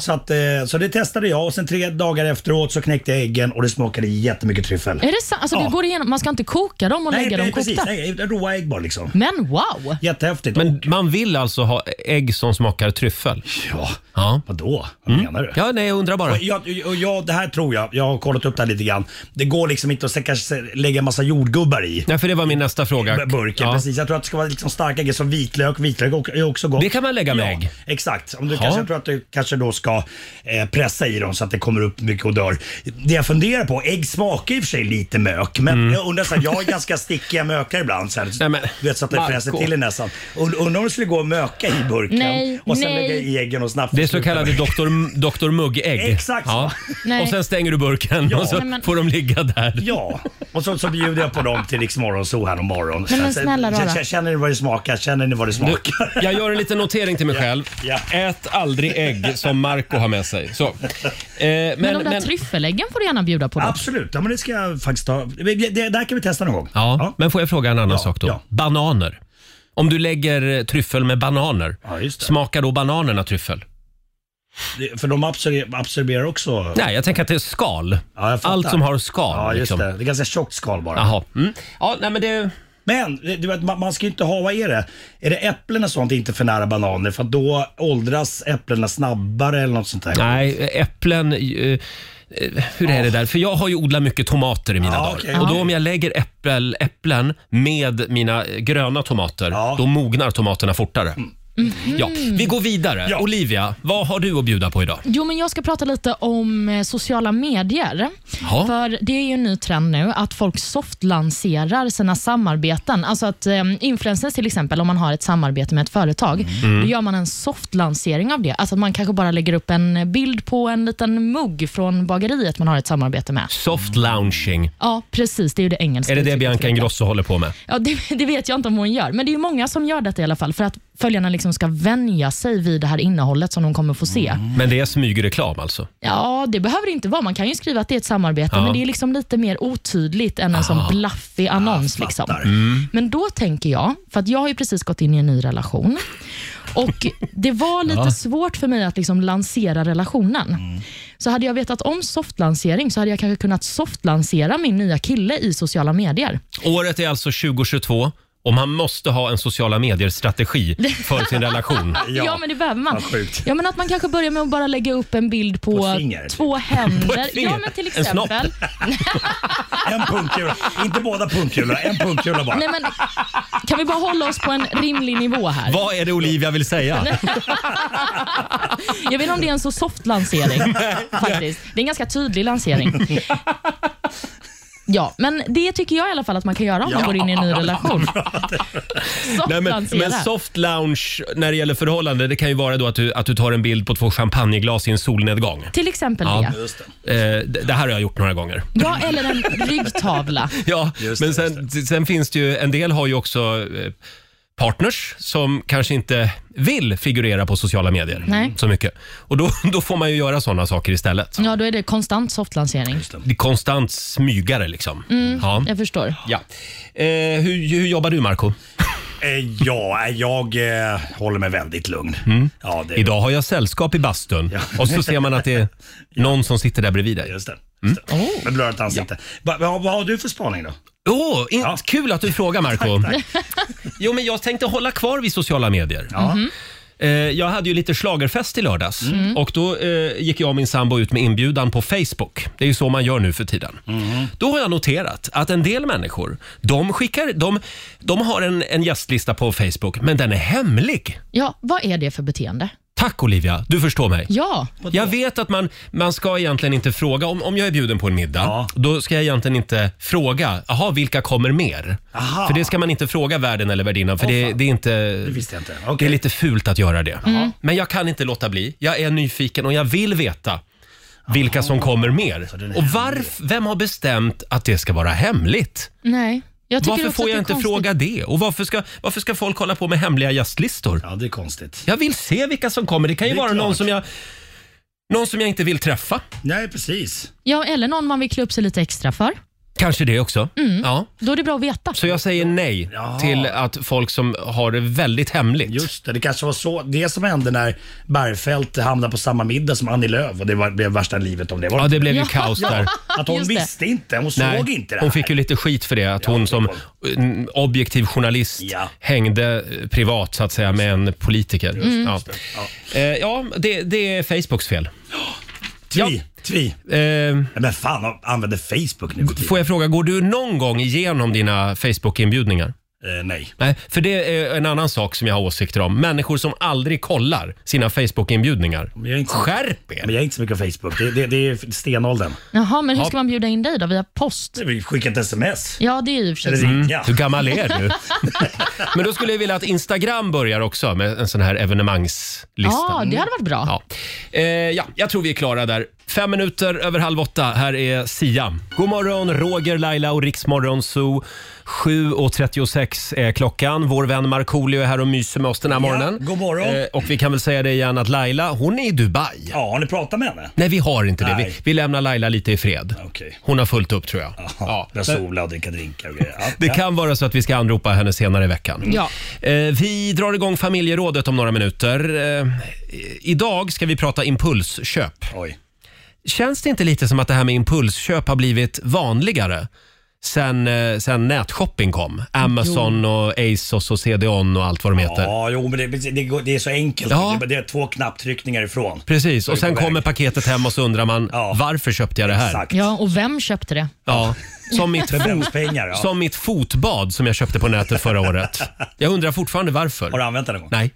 Så, att, eh, så det testade jag och sen tre dagar efteråt så knäckte jag äggen och det smakade jättemycket tryffel.
Är det sant? Alltså,
Ja.
du går igenom, man ska inte koka dem och
Nej,
lägga
pre-
dem
precis.
kokta? Mm.
Nej, råa ägg bara liksom.
Men wow!
Jättehäftigt.
Men man vill alltså ha ägg som smakar tryffel?
Ja,
ja.
vadå? Vad menar du?
Mm. Ja, nej, jag undrar bara.
Och jag, och jag, det här tror jag, jag har kollat upp det här lite grann. Det går liksom inte att se- kanske lägga en massa jordgubbar i.
Nej, för det var min nästa fråga.
Burken,
Ja.
precis. Jag tror att det ska vara liksom starka grejer som vitlök. Vitlök och- är också gott.
Det kan man lägga med
ja,
ägg.
Exakt. Om du
Ja.
kanske, jag tror att du kanske då ska eh, pressa i dem så att det kommer upp mycket och dör. Det jag funderar på, ägg smakar i och för sig lite mök, men
Mm.
jag undrar så här, jag är ganska stickiga mökar ibland. Så här, du vet så att det
Marco.
fräser till i näsan. Und- Undrar om det skulle gå att möka i burken
Nej,
och sen
nej.
lägga i äggen och snabbt
Det är så kallade Dr. Dr. Mugg-ägg.
Exakt så.
Ja.
Nej.
Och sen stänger du burken
Ja.
och så
Nej, men-
får de ligga där.
Ja, och så, så bjuder jag på dem till Rix Morgonzoo här om morgonen.
Men- men snälla rara.
Känner ni vad det smakar? Känner ni vad det smakar?
Jag gör en liten notering till mig själv. Ät aldrig ägg som Marco har med sig. Så. Eh, men,
Men, de där tryffeläggen får du gärna bjuda på. Då.
Absolut, ja, men det ska jag faktiskt ta. Det, det, det här kan vi testa någon gång.
ja, men får jag fråga en annan sak då?
ja.
Bananer. Om du lägger eh, tryffel med bananer, smakar då bananerna tryffel?
Det- För de absorber- absorberar också...
Nej, jag tänker att det är skal.
Ja, jag fattar.
Allt som har skal.
Ja, just
liksom.
det. Det är ganska tjockt skal bara.
Jaha. Mm. Ja, nej, men det...
Men du vet, man, man ska ju inte ha, vad är det? Är det äpplen och sånt inte för nära bananer? För att då åldras äpplena snabbare eller något sånt där.
Nej, äpplen... eh, eh, Hur är det där? För jag har ju odlat mycket tomater i mina
Ja,
dagar.
okej.
Och då
Ja.
om jag lägger äppel, äpplen med mina eh, gröna tomater, då mognar tomaterna fortare.
Mm.
Ja, vi går vidare. Olivia, vad har du att bjuda på idag?
Jo, men jag ska prata lite om eh, sociala medier.
Ja.
För Det är ju en ny trend nu att folk softlanserar sina samarbeten. Alltså att eh, influencers till exempel, om man har ett samarbete med ett företag,
Mm.
då gör man en softlansering av det. Alltså att man kanske bara lägger upp en bild på en liten mugg från bageriet man har ett samarbete med.
Soft lounging.
Ja, precis. Det är ju det engelska
Är det det
uttrycket för
Bianca Ingrosso håller på med?
Ja, det, det vet jag inte om hon gör, men det är ju många som gör detta i alla fall för att följarna liksom ska vänja sig vid det här innehållet som de kommer få se.
Men det är smygreklam alltså?
Ja, det behöver det inte vara. Man kan ju skriva att det är ett samarbete,
Ja.
men det är liksom lite mer otydligt än en sån blaffig annons. liksom.
Mm.
Men då tänker jag, för att jag har ju precis gått in i en ny relation och det var lite
Ja.
svårt för mig att liksom lansera relationen.
Mm.
Så hade jag vetat om softlansering så hade jag kanske kunnat softlansera min nya kille i sociala medier.
Året är alltså 2022 och man måste ha en sociala medier-strategi för sin relation.
Ja, men det behöver man.
Vad sjukt.
Ja, men att man kanske börjar med att bara lägga upp en bild på,
På ett finger, typ.
två händer.
På ett finger.
Ja, men till
En snopp.
exempel.
En punkkula. Inte båda punkkulor, en punkkula bara.
Nej, men Kan vi bara hålla oss på en rimlig nivå här?
Vad är det Olivia vill säga?
Jag vet inte om det är en så soft lansering. faktiskt. Det är en ganska tydlig lansering. Ja, men det tycker jag i alla fall att man kan göra om man
Ja.
går in i en ny relation. Soft
Nej, men,
lansera.
men soft lounge när det gäller förhållande, det kan ju vara då att du, att du tar en bild på två champagneglas i en solnedgång.
Till exempel
Ja.
det.
Eh, det. Det här har jag gjort några gånger.
Ja, eller en ryggtavla.
Ja, men sen, sen finns det ju, en del har ju också eh, partners som kanske inte vill figurera på sociala medier
Nej.
så mycket. Och då, då får man ju göra sådana saker istället.
Ja, då är det konstant soft lansering.
Det är konstant smygare liksom.
Mm,
Ja.
Jag förstår.
Ja. Eh, hur, hur jobbar du Marco?
Eh, ja, jag eh, håller mig väldigt lugn. Ja, det är
Mm. Idag har jag sällskap i bastun och så ser man att det är någon som sitter där bredvid dig.
Just det.
Oh.
Med blurrat ansikte. Va, va, vad har du för spaning då?
Åh, in- kul att du frågar Marco. Jo, men jag tänkte hålla kvar vid sociala medier. Eh, Jag hade ju lite schlagerfest i lördags
Mm-hmm. Mm.
och då eh, gick jag och min sambo ut med inbjudan på Facebook. Det är ju så man gör nu för tiden.
Mm-hmm.
Då har jag noterat att en del människor, de skickar, de, de har en, en gästlista på Facebook, men den är hemlig.
Ja, vad är det för beteende?
Tack Olivia, du förstår mig.
Ja.
Jag vet att man, man ska egentligen inte fråga, om, om jag är bjuden på en middag, då ska jag egentligen inte fråga, jaha vilka kommer mer?
Aha.
För det ska man inte fråga värden eller värdinnan, för det, det är inte... Det
visste jag inte.
Det är lite fult att göra det.
Jaha. Mm.
Men jag kan inte låta bli. Jag är nyfiken och jag vill veta vilka som kommer mer. Och varf, vem har bestämt att det ska vara hemligt?
Nej. Jag tycker
varför får
också att
jag
det är
inte
konstigt.
fråga det? Och varför ska, varför ska folk hålla på med hemliga gästlistor?
Ja, det är konstigt.
Jag vill se vilka som kommer. Det kan ju
Det är
vara någon
klart.
som, jag, någon som jag inte vill träffa.
Nej, precis.
Ja, eller någon man vill klä upp sig lite extra för.
Kanske det också.
Mm.
Ja.
Då är det bra att veta.
Så jag säger nej till att folk som har det väldigt hemligt.
Just det, det kanske var så, det som hände när Bergfeldt hamnade på samma middag som Annie Lööf och det var, blev värsta livet om det. Var
Ja, det blev ju kaos där.
Att hon
Just det.
visste inte, hon såg inte det
hon
här.
fick ju lite skit för det. Att hon som eh, objektiv journalist hängde eh, privat så att säga med en politiker.
Mm.
Ja,
Just
det, ja det, det är Facebooks fel.
Tvi, tvi.
Eh,
men fan, använder Facebook nu för tiden?
Får jag fråga, går du någon gång igenom dina Facebook-inbjudningar?
Eh, nej.
Nej, för det är en annan sak som jag har åsikter om. Människor som aldrig kollar sina Facebook-inbjudningar.
Men jag är inte så-
Skärp er!
Men jag är inte så mycket på Facebook. Det, det, det är stenåldern.
Jaha, men hur
Ja.
ska man bjuda in dig då? Via post?
Vi skickar ett sms.
Ja, det är ju i och för sig sant.
Mm. Hur gammal är du? Men då skulle jag vilja att Instagram börjar också med en sån här evenemangslista.
Ja, Ah, det hade varit bra.
Ja. Eh, ja, jag tror vi är klara där. Fem minuter över halv åtta. Här är Sia. God morgon, Roger, Laila och Riksmorgon Zoo. 7.36 är klockan. Vår vän Markoolio är här och myser med oss den här morgonen.
god morgon.
Eh, och vi kan väl säga det igen att Laila, hon är i Dubai.
Ja, har ni pratat med henne?
Nej, vi har inte det. Vi,
Nej.
vi lämnar Laila lite i fred.
Okej.
Hon har fullt upp tror jag.
Ja, jag
men-
solar och dricker drinkar och grejer. Ja,
Det
ja.
kan vara så att vi ska anropa henne senare i veckan.
Ja.
Eh, vi drar igång familjerådet om några minuter. Eh, i- idag ska vi prata impulsköp.
Oj.
Känns det inte lite som att det här med impulsköp har blivit vanligare sen, eh, sen nätshopping kom? Amazon och Asos och CDON och allt vad de heter.
Ja, jo, men det, det, går- det är så enkelt.
Ja.
Det, det är två knapptryckningar ifrån.
Precis,
Så
och
är vi
sen
på väg.
kommer paketet hem och så undrar man varför köpte jag det här?
Ja, och vem köpte det?
Ja. Som mitt,
För
fot,
vems pengar, ja.
som mitt fotbad som jag köpte på nätet förra året. Jag undrar fortfarande varför. Har
du använt det någon gång?
Nej.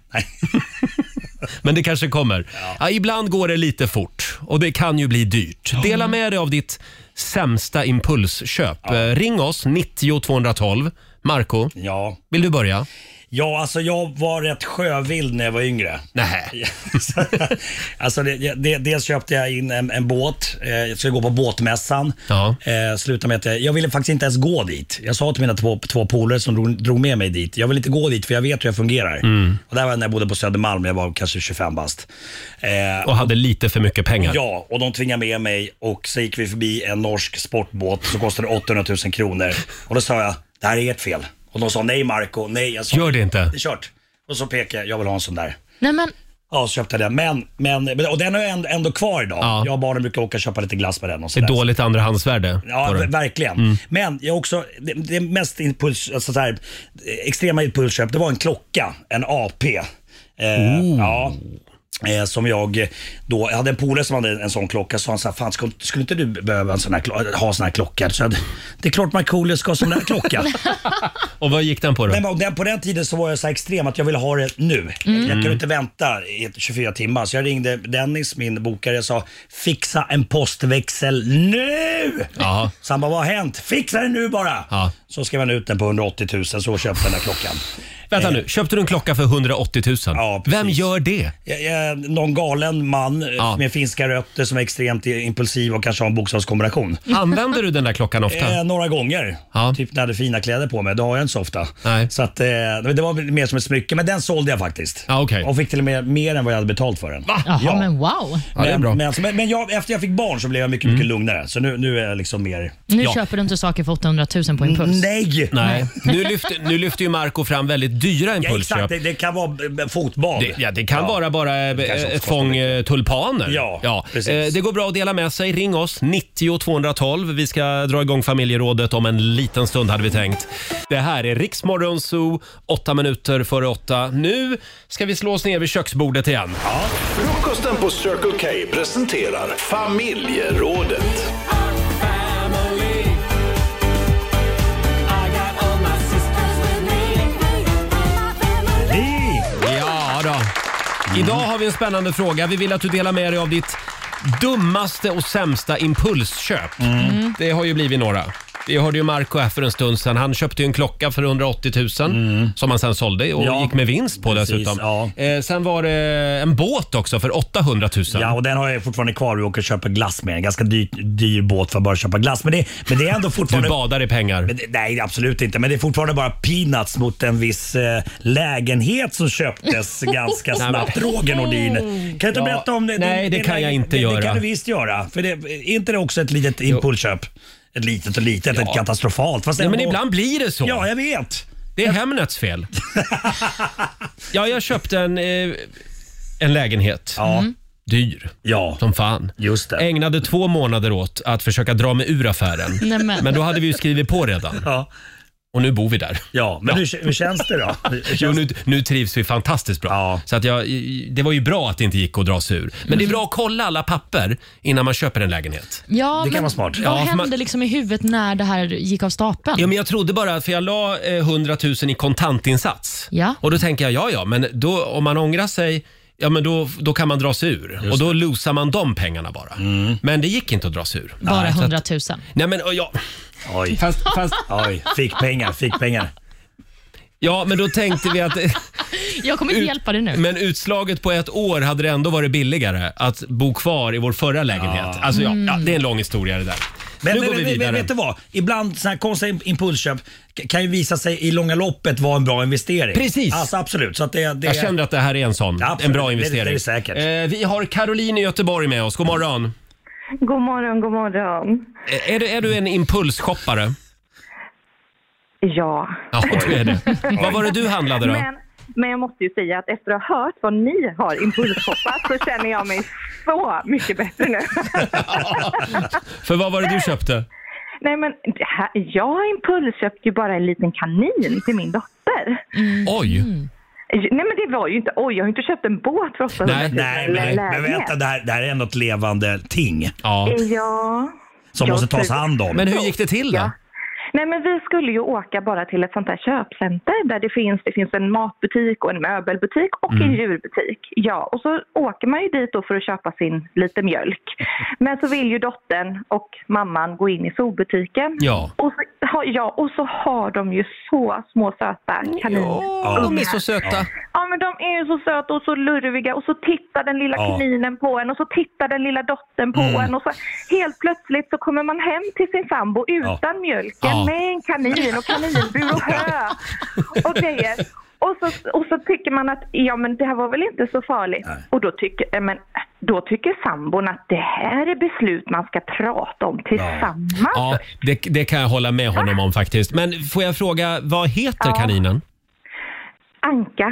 Men det kanske kommer. Ja. ibland går det lite fort och det kan ju bli dyrt. Dela med dig av ditt sämsta impulsköp. Eh, Ring oss, 90 212. Marco,
ja.
vill du börja?
Ja, alltså jag var rätt sjövild när jag var yngre.
Nej.
alltså det, det, dels köpte jag in en, en båt. Eh, Jag skulle gå på båtmässan.
Ja.
Eh, slutade med att jag, jag ville faktiskt inte ens gå dit. Jag sa till mina två, två polare som drog, drog med mig dit, jag vill inte gå dit för jag vet hur jag fungerar.
Mm.
Och där var jag när jag bodde på Södermalm, jag var kanske 25 bast. Eh,
Och hade lite för mycket pengar.
Ja, och de tvingade med mig och så gick vi förbi en norsk sportbåt som kostade 800 000 kronor. Och då sa jag, det här är ert fel. Och de sa nej Marco, nej. Jag sa,
Gör det inte.
Det är kört. Och så pekade jag, jag vill ha en sån där.
Nej, men
Ja, så köpte jag den. Men, men, men- och den är ändå, ändå kvar idag. Jag och barnen brukar åka och köpa lite glass med den. Och
Det
så
är
där.
dåligt andrahandsvärde.
Ja,
på den.
ver- verkligen.
Mm.
Men jag också, det, det mest impuls, alltså så här, extrema impulsköp, det var en klocka, en AP. Eh,
Oh.
Ja. Eh, som jag då, jag hade en polare som hade en sån klocka, så han sa fan skulle, skulle inte du behöva en sån här, klo- ha en sån här klocka? Så jag, det är klart Markoolio ska ha sån här klocka.
Och vad gick den på då?
Men, den, på den tiden så var jag så här extrem att jag ville ha det nu.
Mm.
Jag kunde
Mm.
inte vänta i 24 timmar. Så jag ringde Dennis, min bokare, och sa fixa en postväxel nu! Så han bara, vad har hänt? Fixa det nu bara! Så skrev han ut den på 180 000, så köpte den här klockan.
Vänta nu, köpte du en klocka för 180 000? Ja, Vem gör det?
Jag, jag, Eh, någon galen man eh, med finska rötter som är extremt impulsiv och kanske har en bokstavskombination.
Använder du den där klockan ofta?
Eh, några gånger. Typ när jag hade fina kläder på mig. Det har jag inte så ofta.
Nej.
Så att, eh, det var mer som ett smycke, men den sålde jag faktiskt.
Ah, okay.
Och fick till och med mer än vad jag hade betalt för den.
Jaha,
Ja.
men wow.
Men, men, alltså, men, men jag, efter jag fick barn så blev jag mycket,
Mm.
mycket lugnare. Så nu, nu är jag liksom mer...
Nu
ja.
köper du inte saker för 800 000 på impuls.
Nej!
Nej. Nu, lyfter, nu lyfter ju Marco fram väldigt dyra
Ja,
impulsköp.
exakt, det, det kan vara eh, fotbad.
Det, ja, det kan vara bara eh,
kanske
ett
också
fång eh, tulpaner.
Ja, precis.
Eh, Det går bra att dela med sig. Ring oss, 90 212. Vi ska dra igång familjerådet om en liten stund hade vi tänkt. Det här är Riksmorgon Zoo, åtta minuter före åtta. Nu ska vi slå oss ner vid köksbordet igen.
Frukosten på Circle K presenterar familjerådet.
Ja då.
Mm.
Idag har vi en spännande fråga. Vi vill att du delar med dig av ditt dummaste och sämsta impulsköp.
Mm.
Det har ju blivit några. Vi hörde ju Marco här för en stund sedan. Han köpte ju en klocka för 180 000 som han sen sålde och
Mm. Ja.
gick med vinst på
Precis,
dessutom. Eh, sen var det en båt också för 800 000.
Ja, och den har jag fortfarande kvar. Vi åker och köper glass med. En ganska dyr, dyr båt för att bara köpa glass. Men det, men det är ändå fortfarande...
Du badar i pengar.
Men det, nej, absolut inte. Men det är fortfarande bara peanuts mot en viss eh, lägenhet som köptes ganska
Nej, men-
snabbt. Roger Nordin, kan du inte
Ja,
berätta om det?
nej, det kan jag inte
det, Det
göra.
kan du visst göra. För det, är inte det också ett litet impulsköp? Ett litet och litet, ett katastrofalt.
Nej,
ändå-
men ibland blir det så.
Ja, jag vet.
Det är Hemnets fel. ja, jag köpte en, eh, en lägenhet. Dyr.
Ja.
Som fan.
Just det.
Ägnade två månader åt att försöka dra mig ur affären.
Nej, men-
men. då hade vi ju skrivit på redan. Och nu bor vi där.
Ja, men Hur, hur känns det då?
Jo, nu, nu trivs vi fantastiskt bra. Så att jag, det var ju bra att det inte gick att dra sig ur.
Mm.
Men det är bra att kolla alla papper innan man köper en lägenhet.
Ja, men Vad
Ja, för
hände
man-
liksom i huvudet när det här gick av stapeln?
Ja, men jag trodde bara, för jag la eh, 100 000 i kontantinsats.
Ja.
Och då tänker jag, ja ja, men då, om man ångrar sig, ja men då, då kan man dra sig ur. och då losar man de pengarna bara.
Mm.
Men det gick inte att dra sig ur.
Bara
Nej, så att-
100 000.
Nej men, och ja.
Oj.
Fast, fast...
Oj, fick pengar, fick pengar.
Ja, men då tänkte vi att...
Jag kommer inte hjälpa dig nu.
Men utslaget på ett år hade det ändå varit billigare att bo kvar i vår förra lägenhet. Alltså ja,
Mm.
ja, det är en lång historia det där.
Men,
nu
men,
går vi
men,
vidare.
men vet du vad? Ibland sådana här konstiga imp- impulsköp k- kan ju visa sig i långa loppet vara en bra investering.
Precis.
Alltså absolut. Så att det, det...
Jag kände att det här är en sån.
Absolut,
En
det-
bra
det-
investering.
det är det säkert.
Eh, vi har Caroline i Göteborg med oss. God morgon.
God morgon, god morgon.
Eh, Är du, är du en impulsshoppare?
Ja.
Ja, du är det. Vad var det du handlade då?
Men, men jag måste ju säga att efter att ha hört vad ni har impulshoppat så känner jag mig så mycket bättre nu.
För vad var det du köpte?
Nej men, det här, jag impulsköpte ju bara en liten kanin till min dotter.
Oj!
Mm. Nej men det var ju inte, oj jag har ju inte köpt en båt för 800
Nej,
000
nej,
eller en
men, men
lägenhet.
vänta, det här, det här är ändå ett levande ting.
Ja.
Som
Jag
måste tas
tror-
hand om. Men hur gick det till då?
Ja. Nej, men vi skulle ju åka bara till ett sånt här köpcenter där det finns, det finns en matbutik och en möbelbutik och en
Mm.
djurbutik. Ja, och så åker man ju dit då för att köpa sin lite mjölk. Men så vill ju dottern och mamman gå in i zoobutiken.
Ja.
Och så, har- ja, och så har de ju så små söta kaniner.
Ja, de är så söta.
Ja, men de är ju så söta och så lurviga och så tittar den lilla
Ja.
kaninen på en och så tittar den lilla dottern på
Mm.
en och så helt plötsligt så kommer man hem till sin sambo utan mjölken
Ja.
med en kanin och kaninbur och hö och grejer. Och så, och så tycker man att ja, men det här var väl inte så farligt. Och då tycker, eh, men, då tycker sambon att det här är beslut man ska prata om tillsammans.
Ja, det, det kan jag hålla med honom om faktiskt. Men får jag fråga, vad heter
Ja.
kaninen?
Anka.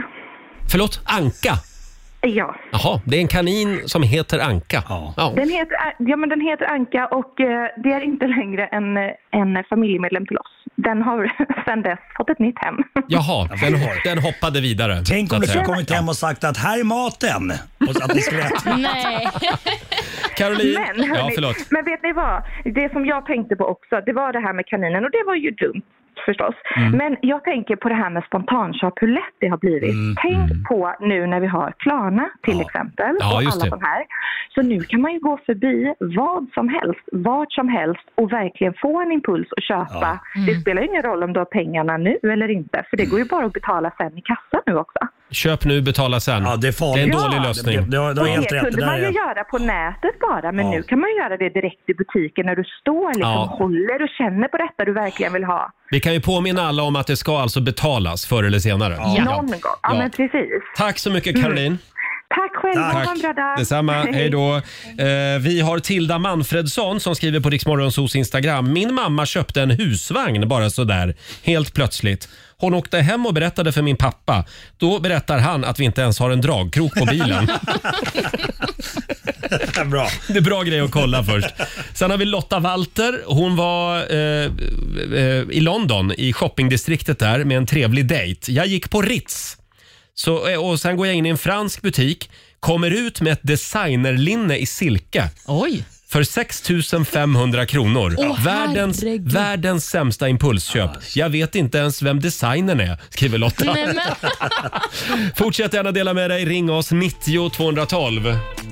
Förlåt, Anka?
Ja.
Jaha, det är en kanin som heter Anka. Ja.
Den heter, ja, men den heter Anka och eh, det är inte längre en, eh, en familjemedlem till oss. den har sedan dess fått ett nytt hem.
Jaha, den, hop- den hoppade vidare.
Tänk
så
om
att
du skulle
säga.
kommit hem och sagt att här är maten. Och att ni skulle äta.
Nej.
Caroline,
Men, hörni,
ja förlåt.
men vet ni vad? Det som jag tänkte på också, det var det här med kaninen och det var ju dumt förstås.
Mm.
Men jag tänker på det här med spontanshop, hur lätt det har blivit.
Mm,
Tänk på nu när vi har Klarna till exempel
Ja,
och
just
alla
det.
de här. Så nu kan man ju gå förbi vad som helst, vart som helst och verkligen få en impuls att köpa. Det
Mm.
spelar ju ingen roll om du har pengarna nu eller inte, för det går ju bara att betala sen i kassan nu också.
Köp nu, betala sen.
det
Ja,
är
Det är en
farligt.
dålig
Ja,
lösning.
det- det- det- det
Och det kunde man ju göra på nätet bara, men
Ja.
nu kan man ju göra det direkt i butiken när du står liksom,
Ja.
håller och känner på detta du verkligen vill ha.
Vi kan ju påminna alla om att det ska alltså betalas förr eller senare.
Någon gång. Ja,
Ja.
men precis.
Tack så mycket Caroline.
Tack själv, ha en bra dag.
Detsamma, hej då. Eh, vi har Tilda Manfredsson som skriver på Riksmorgonsos Instagram. Min mamma köpte en husvagn bara sådär, helt plötsligt. Hon åkte hem och berättade för min pappa. Då berättar han att vi inte ens har en dragkrok på bilen.
bra.
Det är bra grej att kolla först. Sen har vi Lotta Walter. Hon var eh, eh, i London, i shoppingdistriktet där, med en trevlig dejt. Jag gick på Ritz. Så, eh, och sen går jag in i en fransk butik, kommer ut med ett designerlinne i silke.
Oj.
För 6 500 kronor.
Åh,
världens,
herregud.
världens sämsta impulsköp. Jag vet inte ens vem designern är, skriver Lotta.
Nej, men-
Fortsätt gärna dela med dig. Ring oss 90 212.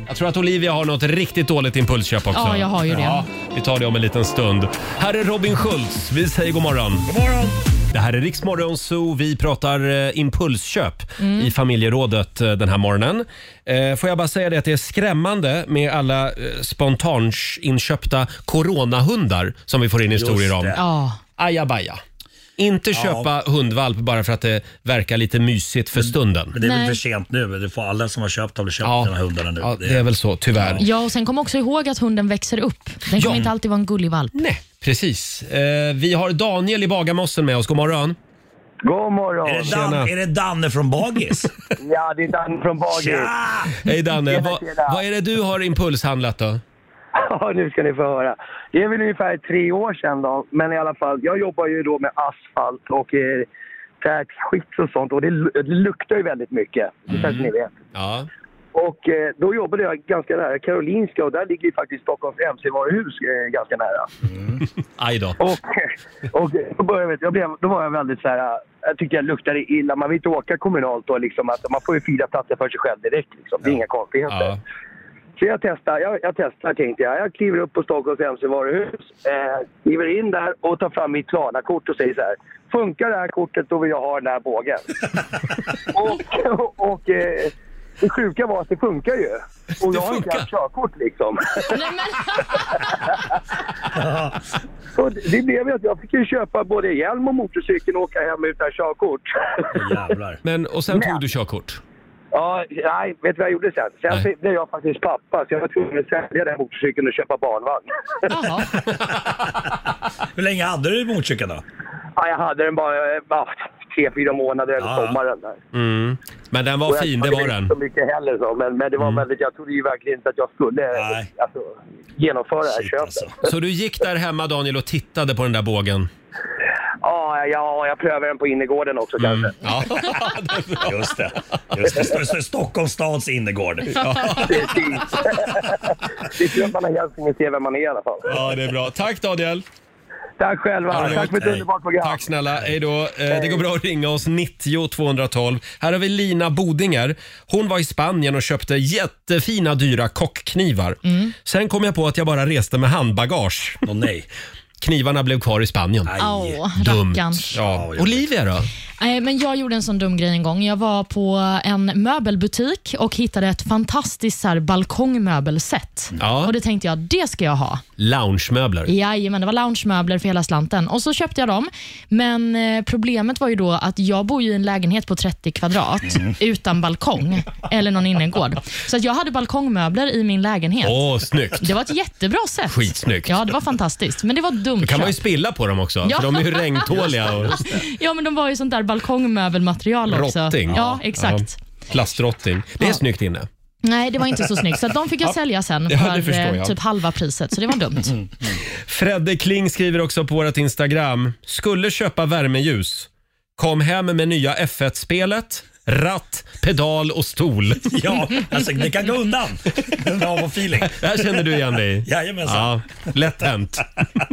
Jag tror att Olivia har något riktigt dåligt impulsköp också.
Ja, jag har ju det.
vi tar det om en liten stund. Här är Robin Schultz. Vi säger god morgon. God morgon. Det här är Riksmorgon Zoo. Vi pratar eh, impulsköp
Mm.
i familjerådet eh, den här morgonen. Eh, får jag bara säga det att det är skrämmande med alla eh, spontant inköpta coronahundar som vi får in historier om.
det. Ja.
Ajabaja. Inte köpa hundvalp bara för att det verkar lite mysigt för stunden.
Men det är väl för sent nu. Det får alla som har köpt har väl köpt de här hundarna nu.
Ja, det är väl så, tyvärr.
Ja, och sen kom också ihåg att hunden växer upp. Den kommer inte alltid vara en gullig valp.
Nej. Precis. Eh, vi har Daniel i Bagarmossen med oss. God morgon.
God morgon.
Är det, Dan, är det Danne från Bagis?
ja, det är Danne från Bagis.
Hej Danne.
Tjena,
Va,
tjena.
vad är det du har impulshandlat då?
Ja, nu ska ni få höra. Det är väl ungefär tre år sedan då, men i alla fall. Jag jobbar ju då med asfalt och eh, tätskikt och sånt och det, lu- det luktar ju väldigt mycket. Det kanske ni vet.
Ja.
Och eh, då jobbade jag ganska nära Karolinska och där ligger ju faktiskt Stockholms MC-varuhus eh, ganska nära.
Aj då.
Och, och då, började, jag- jag blev, då var jag väldigt så här, eh, jag tyckte jag luktade illa. Man vill inte åka kommunalt då liksom, att man får ju fyra platser för sig själv direkt liksom. Det är inga konstigheter.
Ja.
Så jag testar, jag, jag testar tänkte jag. Jag kliver upp på Stockholms MC-varuhus, eh, kliver in där och tar fram mitt Klarna-kort och säger så här. Funkar det här kortet då vill jag ha den här bågen. och och, och eh, det sjuka var att det funkar ju. Och jag har inte haft körkort liksom. Så det det blev ju att jag fick ju köpa både hjälm och motorcykel och åka hem utan körkort.
Men, och sen tog du körkort?
Ja, nej, vet du vad jag gjorde sen? Sen blev jag faktiskt pappa så jag var tvungen att sälja den motorcykeln och köpa barnvagn.
Hur länge hade du motorcykeln då?
Ja, jag hade den bara eh, bara tre, fyra månader över sommaren. Där.
Mm. Men den
Och
var
jag
fin, det
hade
var den. Mm.
inte så mycket heller så, men, men det var väldigt, jag trodde ju verkligen inte att jag skulle eh, alltså, genomföra det här köpet.
alltså.
Så du gick där hemma Daniel och tittade på den där bågen?
Ja, ja, jag prövade den på innergården också
Mm.
kanske.
Ja.
Just det. Just det. Sto- sto- Stockholms stads innergård.
Precis. det är tur att man har hjälpt mig att se vem man är i alla fall.
Ja, det är bra. Tack Daniel!
Tack själva.
Ha det
Tack
gott.
för ett
Hej.
underbart program.
Tack snälla, hej då. Eh, Det går bra att ringa oss, 90 212. Här har vi Lina Bodinger. Hon var i Spanien och köpte jättefina dyra kockknivar. Sen kom jag på att jag bara reste med handbagage.
Åh nej.
Knivarna blev kvar i Spanien.
Åh,
Dumt.
rackarns.
Ja. Olivia då?
Nej, men jag gjorde en sån dum grej en gång. Jag var på en möbelbutik och hittade ett fantastiskt så här, balkongmöbelset.
Ja.
Och det tänkte jag, det ska jag ha.
Loungemöbler.
Jajamän, det var loungemöbler för hela slanten. Och så köpte jag dem. Men eh, problemet var ju då att jag bor ju i en lägenhet på 30 kvadrat
Mm.
utan balkong eller någon innergård. Så att jag hade balkongmöbler i min lägenhet.
Åh, snyggt.
Det var ett jättebra sätt.
Skitsnyggt.
Ja, det var fantastiskt. Men det var dumt.
Då kan man ju
köp.
spilla på dem också,
Ja.
för de är ju regntåliga. Och...
Ja, men de var ju sånt där balkongmöbelmaterial också.
Rotting.
Ja, exakt.
Ja. Plastrotting. Det är snyggt inne.
Nej, det var inte så snyggt. Så att de fick jag
Ja.
sälja sen
Ja, det
för
förstår
eh,
jag. Mm.
typ halva priset, så det var dumt.
Fredde Kling skriver också på vårt Instagram. Skulle köpa värmeljus. Kom hem med nya F1-spelet. Ratt, pedal och stol.
Ja, alltså, det kan gå undan. Den har på feeling.
Det här känner du igen dig i?
Jajamensan.
Ja, lätt hänt.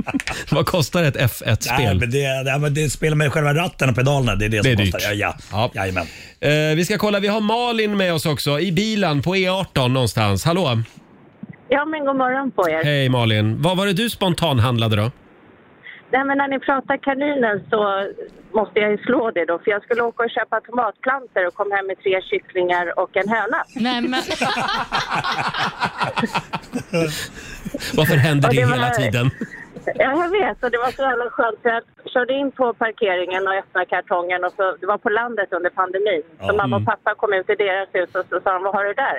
Vad kostar ett
Nej,
F1-spel?
men det, nej, men det spelar med själva ratten och pedalerna. Det är det,
Det är
som
dyrt.
kostar. Ja, ja. Jajamän.
Eh, vi ska kolla, vi har Malin med oss också i bilen på E18 någonstans. Hallå!
Ja, men god morgon på er.
Hej Malin! Vad var det du spontanhandlade då?
Nej, men när ni pratar kaninen så måste jag ju slå det då, för jag skulle åka och köpa tomatplantor och kom hem med tre kycklingar och en höna.
Nej, men...
Varför händer
Ja,
det
det var-
hela tiden?
Ja, jag vet. Och det var så jävla skönt för jag körde in på parkeringen och öppnade kartongen. Och så, det var på landet under pandemin. Så
Ja.
mamma och
Mm.
pappa kom ut i deras hus och så sa de, vad har du där?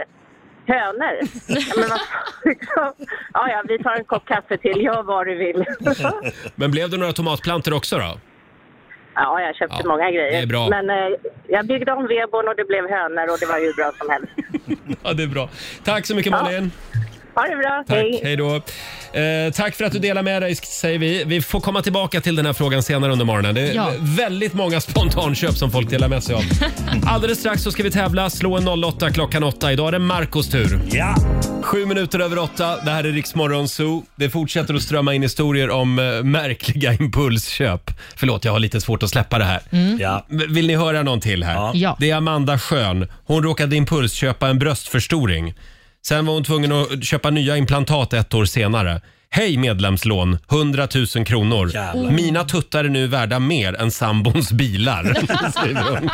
Hönor. Ja, Men vad liksom, ja, ja, vi tar en kopp kaffe till. Gör vad du vill.
Men blev det några tomatplantor också då?
ja, jag köpte
Ja,
många grejer.
det är bra.
Men eh, jag byggde om vedbon och det blev hönor och det var ju bra som helst.
Ja, det är bra. Tack så mycket Malin!
Ha det bra.
Tack, hej då. Eh, tack för att du delar med dig säger vi. Vi får komma tillbaka till den här frågan senare under morgonen. Det är
Ja.
väldigt många spontanköp som folk delar med sig av. Alldeles strax så ska vi tävla. Slå en 08 klockan 8. Idag är det Marcos tur.
Ja.
Sju minuter över åtta. Det här är Riksmorgon Zoo. Det fortsätter att strömma in historier om eh, märkliga impulsköp. Förlåt, jag har lite svårt att släppa det här.
Mm.
Ja.
V- Vill ni höra någon till här?
Ja.
Det är Amanda Schön. Hon råkade impulsköpa en bröstförstoring. Sen var hon tvungen att köpa nya implantat ett år senare. Hej medlemslån, 100 000 kronor.
Jävlar.
Mina tuttar är nu värda mer än sambons bilar. skriver hon.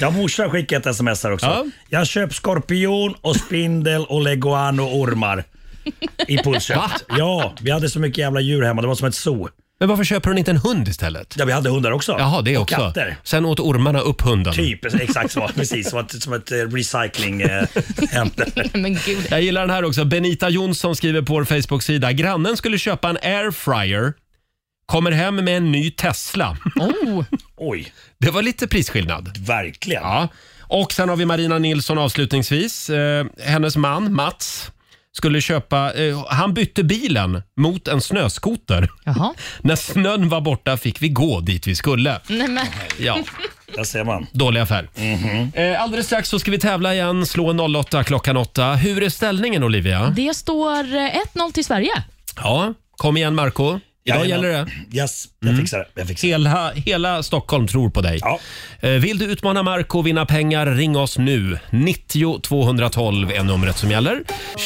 Ja, morsan skickade ett sms här också.
Ja.
Jag köper skorpion och spindel och leguan och ormar. I
Va?
pulsköpt. Ja, vi hade så mycket jävla djur hemma. Det var som ett zoo.
Men varför köper hon inte en hund istället?
Ja, vi hade hundar också.
Jaha, det
och
också.
katter.
Sen åt ormarna upp hunden.
Typ, exakt så. Precis, som ett, som ett eh, recycling eh, hämte.
Men gud.
Jag gillar den här också. Benita Jonsson skriver på vår Facebook-sida. Grannen skulle köpa en airfryer. Kommer hem med en ny Tesla.
Oh.
Oj.
Det var lite prisskillnad.
Verkligen.
Ja. Och sen har vi Marina Nilsson avslutningsvis. Eh, hennes man Mats skulle köpa... Eh, han bytte bilen mot en snöskoter. När snön var borta fick vi gå dit vi skulle.
Nej, men...
Ja.
Där ser man.
Dålig affär. Eh, alldeles strax så ska vi tävla igen. Slå en 08 klockan 8. Hur är ställningen Olivia?
Det står eh, 1-0 till Sverige.
Ja, kom igen Marco. Idag
Jajamän.
gäller det. Mm.
Yes, jag fixar det. Jag fixar
Hela, hela Stockholm tror på dig. Eh, Vill du utmana Marco och vinna pengar, ring oss nu. 90 212 är numret som gäller.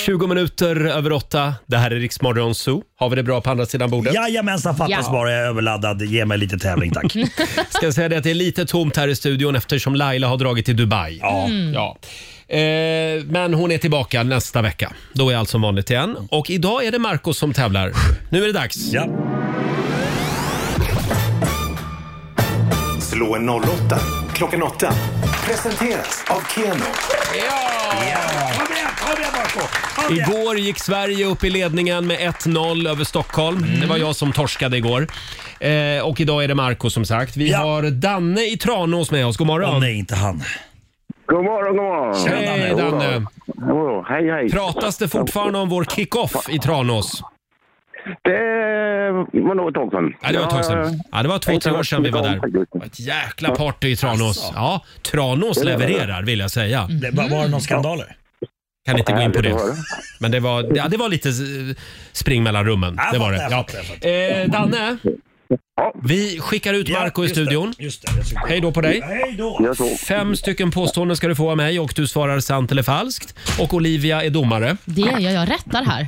20 minuter över åtta. Det här är Riksmorgon Zoo. Har vi det bra på andra sidan bordet?
Jajamensan, fattas
Ja.
bara. Jag är överladdad. Ge mig lite tävling tack.
Ska jag säga det att det är lite tomt här i studion eftersom Laila har dragit till Dubai.
Ja.
Mm.
ja. Eh, men hon är tillbaka nästa vecka. Då är allt som vanligt igen. Och idag är det Marco som tävlar. Nu är det dags.
Ja.
Slå en 08 klockan 8. Presenteras av Keno.
Igår gick Sverige upp i ledningen med 1-0 över Stockholm.
Mm.
Det var jag som torskade igår. Eh, och idag är det Marco som sagt. Vi har Danne i Tranås med oss. God morgon.
nej, inte han.
God morgon, god morgon.
Hej Danne.
Jodå, hej hej.
Pratas det fortfarande om vår kick-off i Tranås?
Det var nog ett tag sedan.
Ja, det var ett tag sedan. Ja, det var två, tre år sedan vi var där.
Det
var ett jäkla party i Tranås.
Asså.
Ja, Tranås
Alltså. Det är det.
levererar vill jag säga.
Det, var, var det någon skandaler?
Kan inte gå in på det.
Härligt att höra.
Men det var, ja, det var lite eh, spring mellan rummen.
Ja,
Det var
jag
det.
fattar,
Ja.
jag fattar,
Eh, Danne, vi skickar ut Marco i
just det,
studion.
Just det, jag ska-
Hej då på dig.
Hej då.
Fem stycken påståenden ska du få av mig och du svarar sant eller falskt. Och Olivia är domare.
Det är jag. Jag rättar här.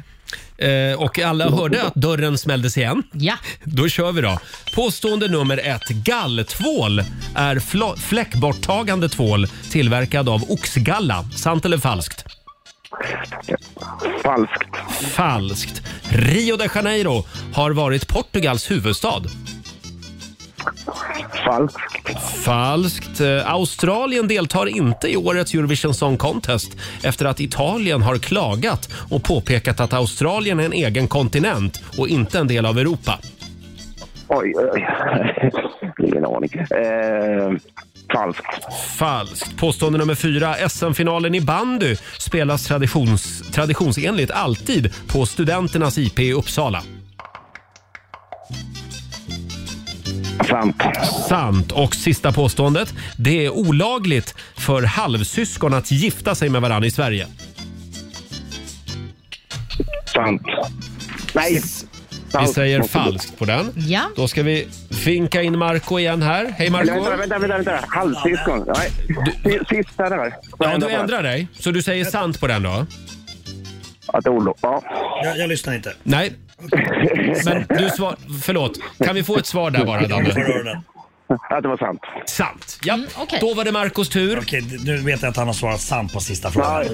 Eh, och alla hörde att dörren smälldes igen.
Ja.
Då kör vi då. Påstående nummer ett. Galltvål är fla- fläckborttagande tvål tillverkad av oxgalla. Sant eller falskt?
Falskt.
Falskt. Rio de Janeiro har varit Portugals huvudstad.
Falskt.
Falskt. Eh, Australien deltar inte i årets Eurovision Song Contest efter att Italien har klagat och påpekat att Australien är en egen kontinent och inte en del av Europa.
Oj, oj, oj. Ingen aning. Eh, Falskt.
Falskt. Påstående nummer fyra. SM-finalen i bandy spelas traditions, traditionsenligt alltid på Studenternas IP i Uppsala.
Sant.
Sant. Och sista påståendet. Det är olagligt för halvsyskon att gifta sig med varandra i Sverige.
Sant. Nej.
Vi säger falskt på den.
Ja.
Då ska vi vinka in Marco igen här. Hej Marco!
Vänta, vänta, vänta. vänta. Halvsyskon. Nej. Si- Sista där.
Ja, du ändrar dig. Så du säger sant på den då?
Att det är olo- ja.
Jag, jag lyssnar inte.
Nej. Men du svar... Förlåt. Kan vi få ett svar där bara, Danne?
Att det var sant.
Sant. Ja. Då var det Marcos tur.
Okej, nu vet jag att han har svarat sant på sista frågan.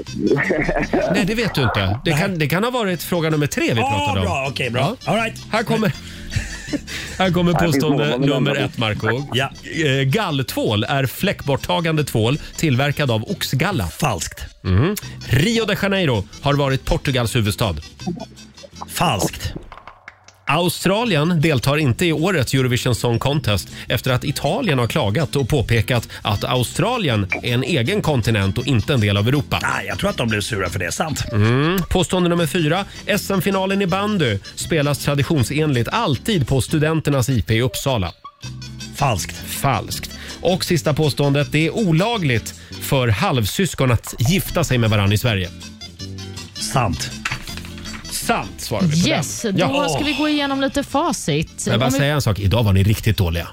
Nej, det vet du inte. Det kan, det kan ha varit fråga nummer tre vi pratade om.
bra, okej, bra.
Ja. Här kommer... Här kommer
Här finns
påstående
många, men
nummer
andra.
ett, Marco. Eh, Galltvål är fläckborttagande tvål tillverkad av oxgalla.
Falskt.
Mm. Rio de Janeiro har varit Portugals huvudstad.
Falskt.
Australien deltar inte i årets Eurovision Song Contest efter att Italien har klagat och påpekat att Australien är en egen kontinent och inte en del av Europa.
Nej, jag tror att de blev sura för det. Sant.
Mm. Påstående nummer fyra. SM-finalen i bandy spelas traditionsenligt alltid på Studenternas IP i Uppsala.
Falskt.
Falskt. Och sista påståendet. Det är olagligt för halvsyskon att gifta sig med varandra i Sverige.
Sant.
Sant svarar vi på
Yes,
den.
då ska vi gå igenom lite facit.
Men jag bara
Om vi-
säga en sak. Idag var ni riktigt dåliga.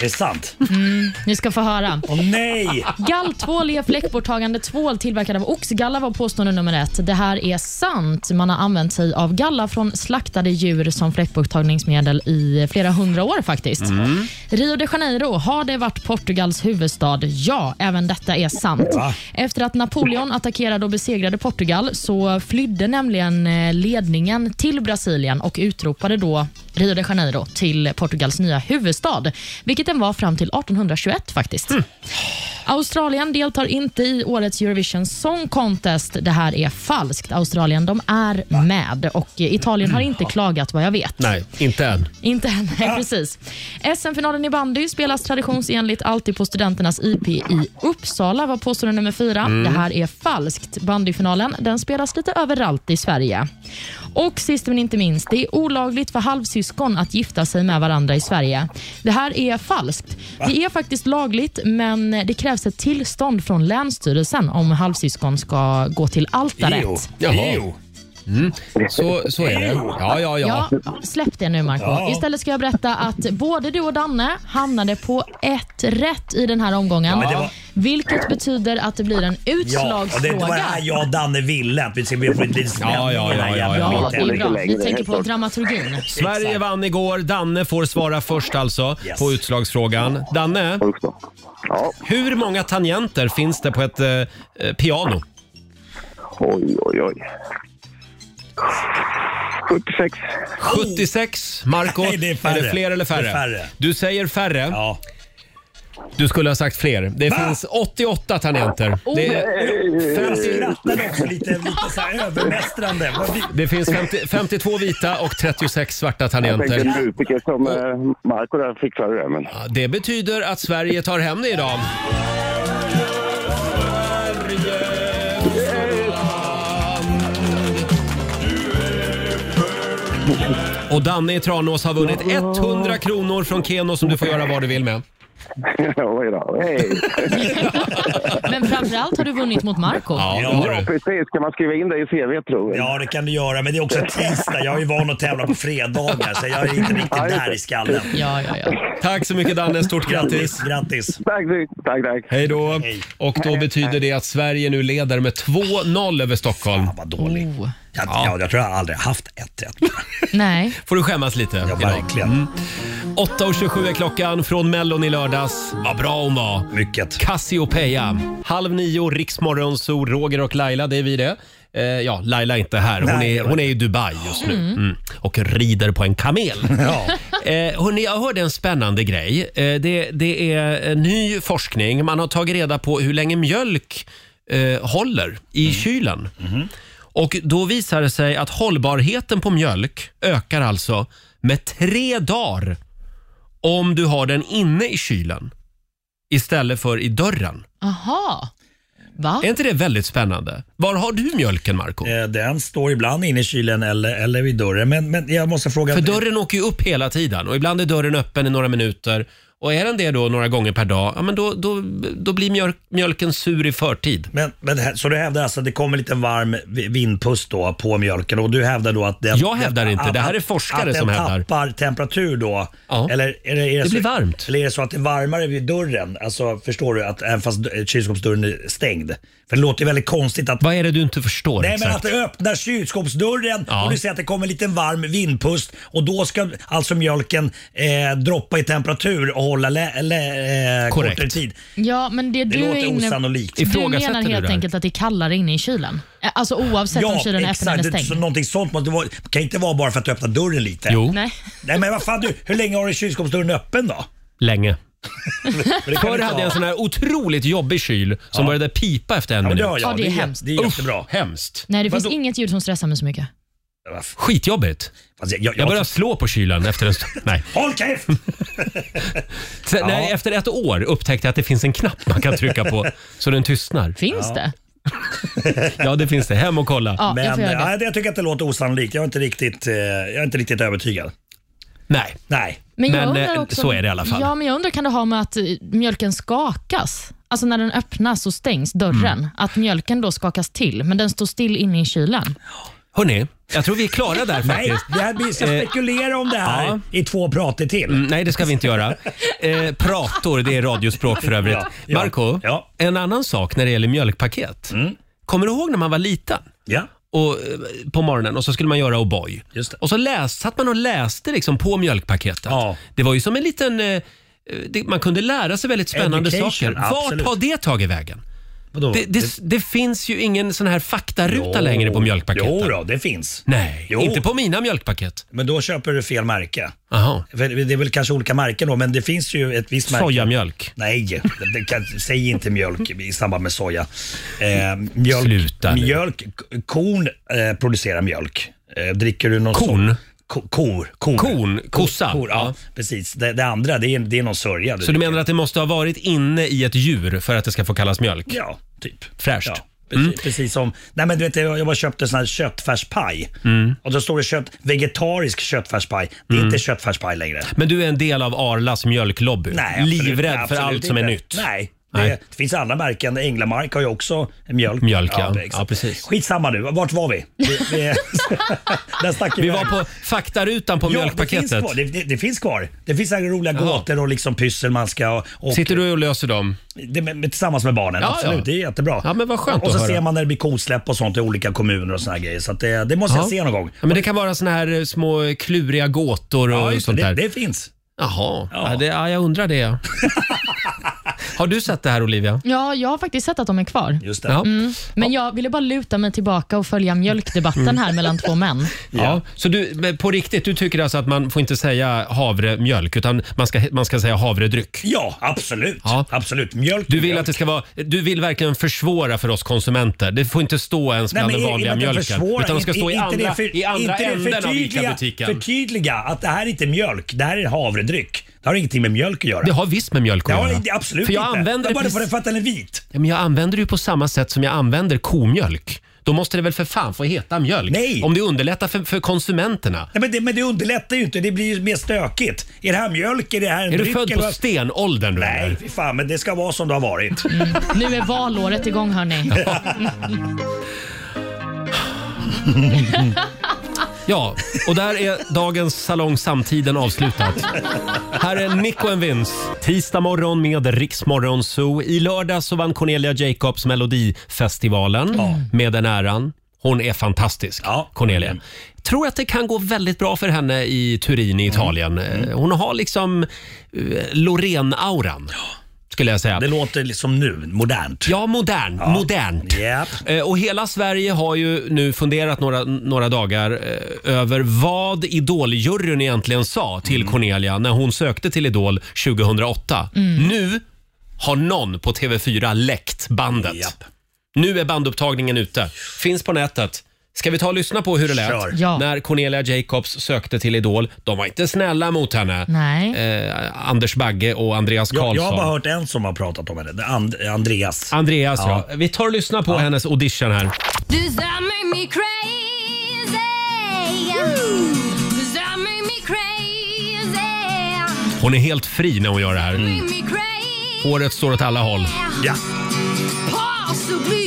Det är sant.
Mm, ni ska få höra.
Åh nej!
Galltvål är fläckborttagande tvål tillverkad av oxgalla var påstående nummer ett. Det här är sant. Man har använt sig av galla från slaktade djur som fläckborttagningsmedel i flera hundra år faktiskt.
Mm.
Rio de Janeiro, har det varit Portugals huvudstad? Ja, även detta är sant.
Va?
Efter att Napoleon attackerade och besegrade Portugal så flydde nämligen eh, ledningen till Brasilien och utropade då Rio de Janeiro till Portugals nya huvudstad, vilket den var fram till 1821 faktiskt.
Hm.
Australien deltar inte i årets Eurovision Song Contest. Det här är falskt. Australien, de är med och Italien har inte klagat vad jag vet.
Nej, inte än.
Inte än, nej, precis. SM-finalen i bandy spelas traditionsenligt alltid på Studenternas IP i Uppsala, var påstående nummer fyra.
Mm.
Det här är falskt. Bandyfinalen den spelas lite överallt i Sverige. Och sist men inte minst, det är olagligt för halvsyskon att gifta sig med varandra i Sverige. Det här är falskt. Det är faktiskt lagligt, men det krävs ett tillstånd från Länsstyrelsen om halvsyskon ska gå till altaret.
Jo. Jaha. Mm. Så, så är det. Ja, ja, ja.
Släpp det nu Marco.
Ja.
Istället ska jag berätta att både du och Danne hamnade på ett rätt i den här omgången.
Ja, det var-
Vilket betyder att det blir en
Ja, och det
utslagsfråga.
var det här jag och Danne ville. Att vi ska bli få lite snälla.
Ja, ja, ja, ja, ja.
Ja, det är bra. Vi tänker på dramaturgin.
Sverige vann igår. Danne får svara först alltså på utslagsfrågan. Danne, hur många tangenter finns det på ett eh, eh, piano?
Oj, oj, oj. 76.
76. Marco,
Nej, det är färre.
det fler eller färre?
Det är färre.
Du säger färre. Du skulle ha sagt fler. Det finns 88 tangenter. Det,
Han
är
skrattade också lite, lite så här övermästrande. Vad vi-
det finns 50, 52 vita och 36 svarta
Jag tänkte en
tangenter.
musiker som eh, Marco där fick för det. Men...
Ja, Det betyder att Sverige tar hem det idag. Och Danne i Tranås har vunnit 100 kronor från Keno som du får göra vad du vill med.
Oj då. Hej.
Men framförallt har du vunnit mot Marco.
ja, precis. Kan man skriva in det i CV tror jag?
Ja, det kan du göra, men det är också tisdag. Jag är ju van att tävla på fredagar, så jag är inte riktigt där i skallen.
Ja, ja, ja.
Tack så mycket Danne, stort grattis!
Grattis!
Tack, tack, tack.
Hej då! Och då betyder det att Sverige nu leder med 2-0 över Stockholm. Fan
vad dålig.
Oh.
Jag, ja, jag tror jag aldrig haft ett rätt.
Nej.
får du skämmas lite. Ja, Mm.
verkligen.
8.27 är klockan från Mellon i lördags. Vad bra hon var.
Mycket.
Cassiopeia. Halv nio, Riksmorgon, så Roger och Laila, det är vi det. Eh, ja, Laila är inte här. Hon,
Nej.
är, hon är i Dubai just nu.
Mm.
Mm. Och rider på en kamel.
Ja.
Eh, hörni, jag hörde en spännande grej. Eh, det, det är eh, ny forskning. Man har tagit reda på hur länge mjölk eh, håller i
Mm.
kylen.
Mm-hmm.
Och då visar det sig att hållbarheten på mjölk ökar alltså med tre dagar om du har den inne i kylen. istället för i dörren.
Aha. Va?
Är inte det väldigt spännande? Var har du mjölken, Marco?
Eh, Den står ibland inne i kylen eller, eller vid dörren. Men, men jag måste fråga...
För dörren åker ju upp hela tiden och ibland är dörren öppen i några minuter. Och är den det då några gånger per dag, ja men då, då, då blir mjölk, mjölken sur i förtid.
Men, men, här- så du hävdar alltså att det kommer lite varm vi- vindpust då på mjölken och du hävdar då att den...
Jag hävdar inte, det här är forskare
att
som hävdar.
den tappar temperatur då? Eller är det, är
Det
så,
blir varmt.
Eller är det så att det är varmare vid dörren? Alltså förstår du, att även fast d- kylskåpsdörren är stängd. För det låter ju väldigt konstigt att...
Vad är det du inte förstår
Nej men
exakt?
att det öppnar kylskåpsdörren
Ja.
och du ser att det kommer en liten varm vindpust och då ska alltså mjölken eh, droppa i temperatur och hålla lä- lä- eh,
Korrekt.
kortare tid.
Ja, men det,
Det
du
låter
är inne...
osannolikt.
Du
Ifrågasätter
menar
du
helt
det här?
enkelt att det är kallare inne i kylen? Eh, Alltså oavsett om kylen är öppen eller
Det- Så
stängd?
någonting sånt måste det vara. Det kan inte vara bara för att du öppnar dörren lite.
Jo.
Nej.
Nej men vad fan du, hur länge har du kylskåpsdörren öppen då?
Länge.
det kan
Förr
inte
hade
vara.
jag en sån här otroligt jobbig kyl som började pipa efter en
men
minut.
det har jag. Ja, det är Det är jä- hemskt. det är jättebra.
Uff, hemskt.
Nej, det
Vadå?
finns inget ljud som stressar mig så mycket.
Skitjobbigt.
Fast jag,
jag började slå på kylen efter en stund. Nej.
Håll käft!
Sen, nej, efter ett år upptäckte jag att det finns en knapp man kan trycka på så den tystnar.
Finns
ja.
det?
Ja, det finns det. Hem och kolla.
men jag, det. jag tycker att det låter osannolikt. Jag är inte riktigt, eh, jag är inte riktigt övertygad.
Nej.
Nej.
Men, jag undrar
eh,
också,
så är det i alla fall.
Ja, men jag undrar, kan det ha med att eh, mjölken skakas? Alltså när den öppnas och stängs dörren,
Mm.
att mjölken då skakas till, men den står still inne i kylen.
Hörni, jag tror vi är klara där
Nej,
faktiskt.
det här, vi ska
Eh,
spekulera om det här
ja.
i två prater till.
Mm, nej, det ska vi inte göra. Eh, prator, det är radiospråk för övrigt.
Ja, ja, Mm.
Marco, en annan sak när det gäller mjölkpaket. Kommer du ihåg när man var liten? Och, eh, på morgonen och så skulle man göra O'boy. Och så läs, satt man och läste liksom på mjölkpaketet. Det var ju som en liten... eh, det, man kunde lära sig väldigt spännande
Education,
saker. Vart
absolut.
har det tagit vägen?
Vadå?
Det, det, det finns ju ingen sån här faktaruta
Jo.
längre på mjölkpaketen.
Jo då, det finns.
Nej,
Jo.
inte på mina mjölkpaket.
Men då köper du fel märke.
Aha.
För Det är väl kanske olika märken då, men det finns ju ett visst märke.
Sojamjölk.
Nej, det- det kan, säg inte mjölk i samband med soja. Eh, mjölk,
Sluta nu.
mjölk, k- Kon eh, producerar mjölk. Eh, dricker du någon
Kon?
so- ko- Kor, kor.
Kon, kossa.
Kor, ja, precis. Det, det andra, det är, det är någon sörja.
Så du menar att det måste ha varit inne i ett djur för att det ska få kallas mjölk?
Ja, typ.
Fräscht. Mm.
Ja, precis, precis som... Nej men du vet, jag jag bara köpte sån här köttfärspaj.
Mm.
Och då står det kött, vegetarisk köttfärspaj. Det är
Mm.
inte köttfärspaj längre.
Men du är en del av Arlas mjölklobby?
Nej, absolut-
typ Livrädd för
absolut
allt som är
inte.
nytt?
Nej.
Nej.
Det, det finns andra märken. Änglamark har ju också mjölk.
Mjölk, ja.
exakt.
Ja, precis.
Skitsamma nu. Vart var vi? vi, vi där stack
Vi
iväg.
var på faktarutan på
Ja,
mjölkpaketet.
Det finns, kvar. Det, det, det finns kvar. Det finns här roliga
Jaha.
gåtor och liksom pyssel man ska... Och, och
Sitter du och löser dem?
det, med, med, tillsammans med barnen,
Ja,
absolut.
ja.
Det är jättebra.
Ja, men vad skönt
och
att
så
höra.
ser man när det blir kosläpp och sånt i olika kommuner och såna här grejer. Så att det, det måste
Ja.
jag se någon gång.
Ja, men det kan vara såna här eh, små kluriga gåtor och
Ja, just det.
sånt där.
Det, det finns.
Jaha, ja. det, ja, jag undrar det. ja. Har du sett det här Olivia?
Ja, jag har faktiskt sett att de är kvar.
Just
det. Ja.
Mm. Men jag ville bara luta mig tillbaka och följa mjölkdebatten här mellan två män.
Ja. Så du, men på riktigt, du tycker alltså att man får inte säga havremjölk utan man ska, man ska säga havredryck?
Ja, absolut. absolut. Mjölk,
du vill, att det ska vara, du vill verkligen försvåra för oss konsumenter. Det får inte stå ens bland
men
den
i-
vanliga
i- men
mjölken.
försvåra,
utan det ska
inte-
stå i
inte
andra,
det för-
i andra
inte det
änden av
förtydliga-
ICA-butiken.
Förtydliga att det här är inte mjölk, det här är havredryck. Det har ingenting med mjölk att göra.
Det har visst med mjölk
Det
att
har
göra.
det absolut
för jag
inte.
Använder
det är bara
det
för
precis-
att den är vit.
Ja, men jag använder det ju på samma sätt som jag använder komjölk. Då måste det väl för fan få heta mjölk?
Nej.
Om det underlättar för, för konsumenterna.
Nej, men, det, men det underlättar ju inte, det blir ju mer stökigt. Är det här mjölk? Är det här en
Är du
dryck
född på
eller-
stenåldern? Du
Nej, fy fan, men det ska vara som det har varit.
Nu är valåret igång hörni.
Ja, och där är dagens Salong Samtiden avslutat. Här är Nico and Vince. Tisdag morgon med Riksmorgon Zoo. I lördag så vann Cornelia Jacobs Melodifestivalen med den äran. Hon är fantastisk, Cornelia. Tror att det kan gå väldigt bra för henne i Turin i Italien. Eh, Hon har liksom eh, Loreen-auran. Skulle jag säga. Det
låter som nu, modernt.
Ja, modern, modernt. Eh, Och hela Sverige har ju nu funderat några, några dagar eh, över vad Idol-juryn egentligen sa till
Mm.
Cornelia när hon sökte till Idol 2008.
Mm.
Nu har någon på TV4 läckt bandet. Nu är bandupptagningen ute. Finns på nätet. Ska vi ta och lyssna på hur det lät
Kör. Ja.
när Cornelia Jacobs sökte till Idol? De var inte snälla mot henne.
Nej.
Eh, Anders Bagge och Andreas
Jag, jag
Karlsson.
har bara hört en som har pratat om henne. Det är And- Andreas.
Andreas, ja. Vi tar och lyssnar på hennes audition här.
Does that make me crazy? Does that make me crazy?
Hon är helt fri när hon gör det här.
Me crazy?
Håret står åt alla håll.
Ja.
Possibly.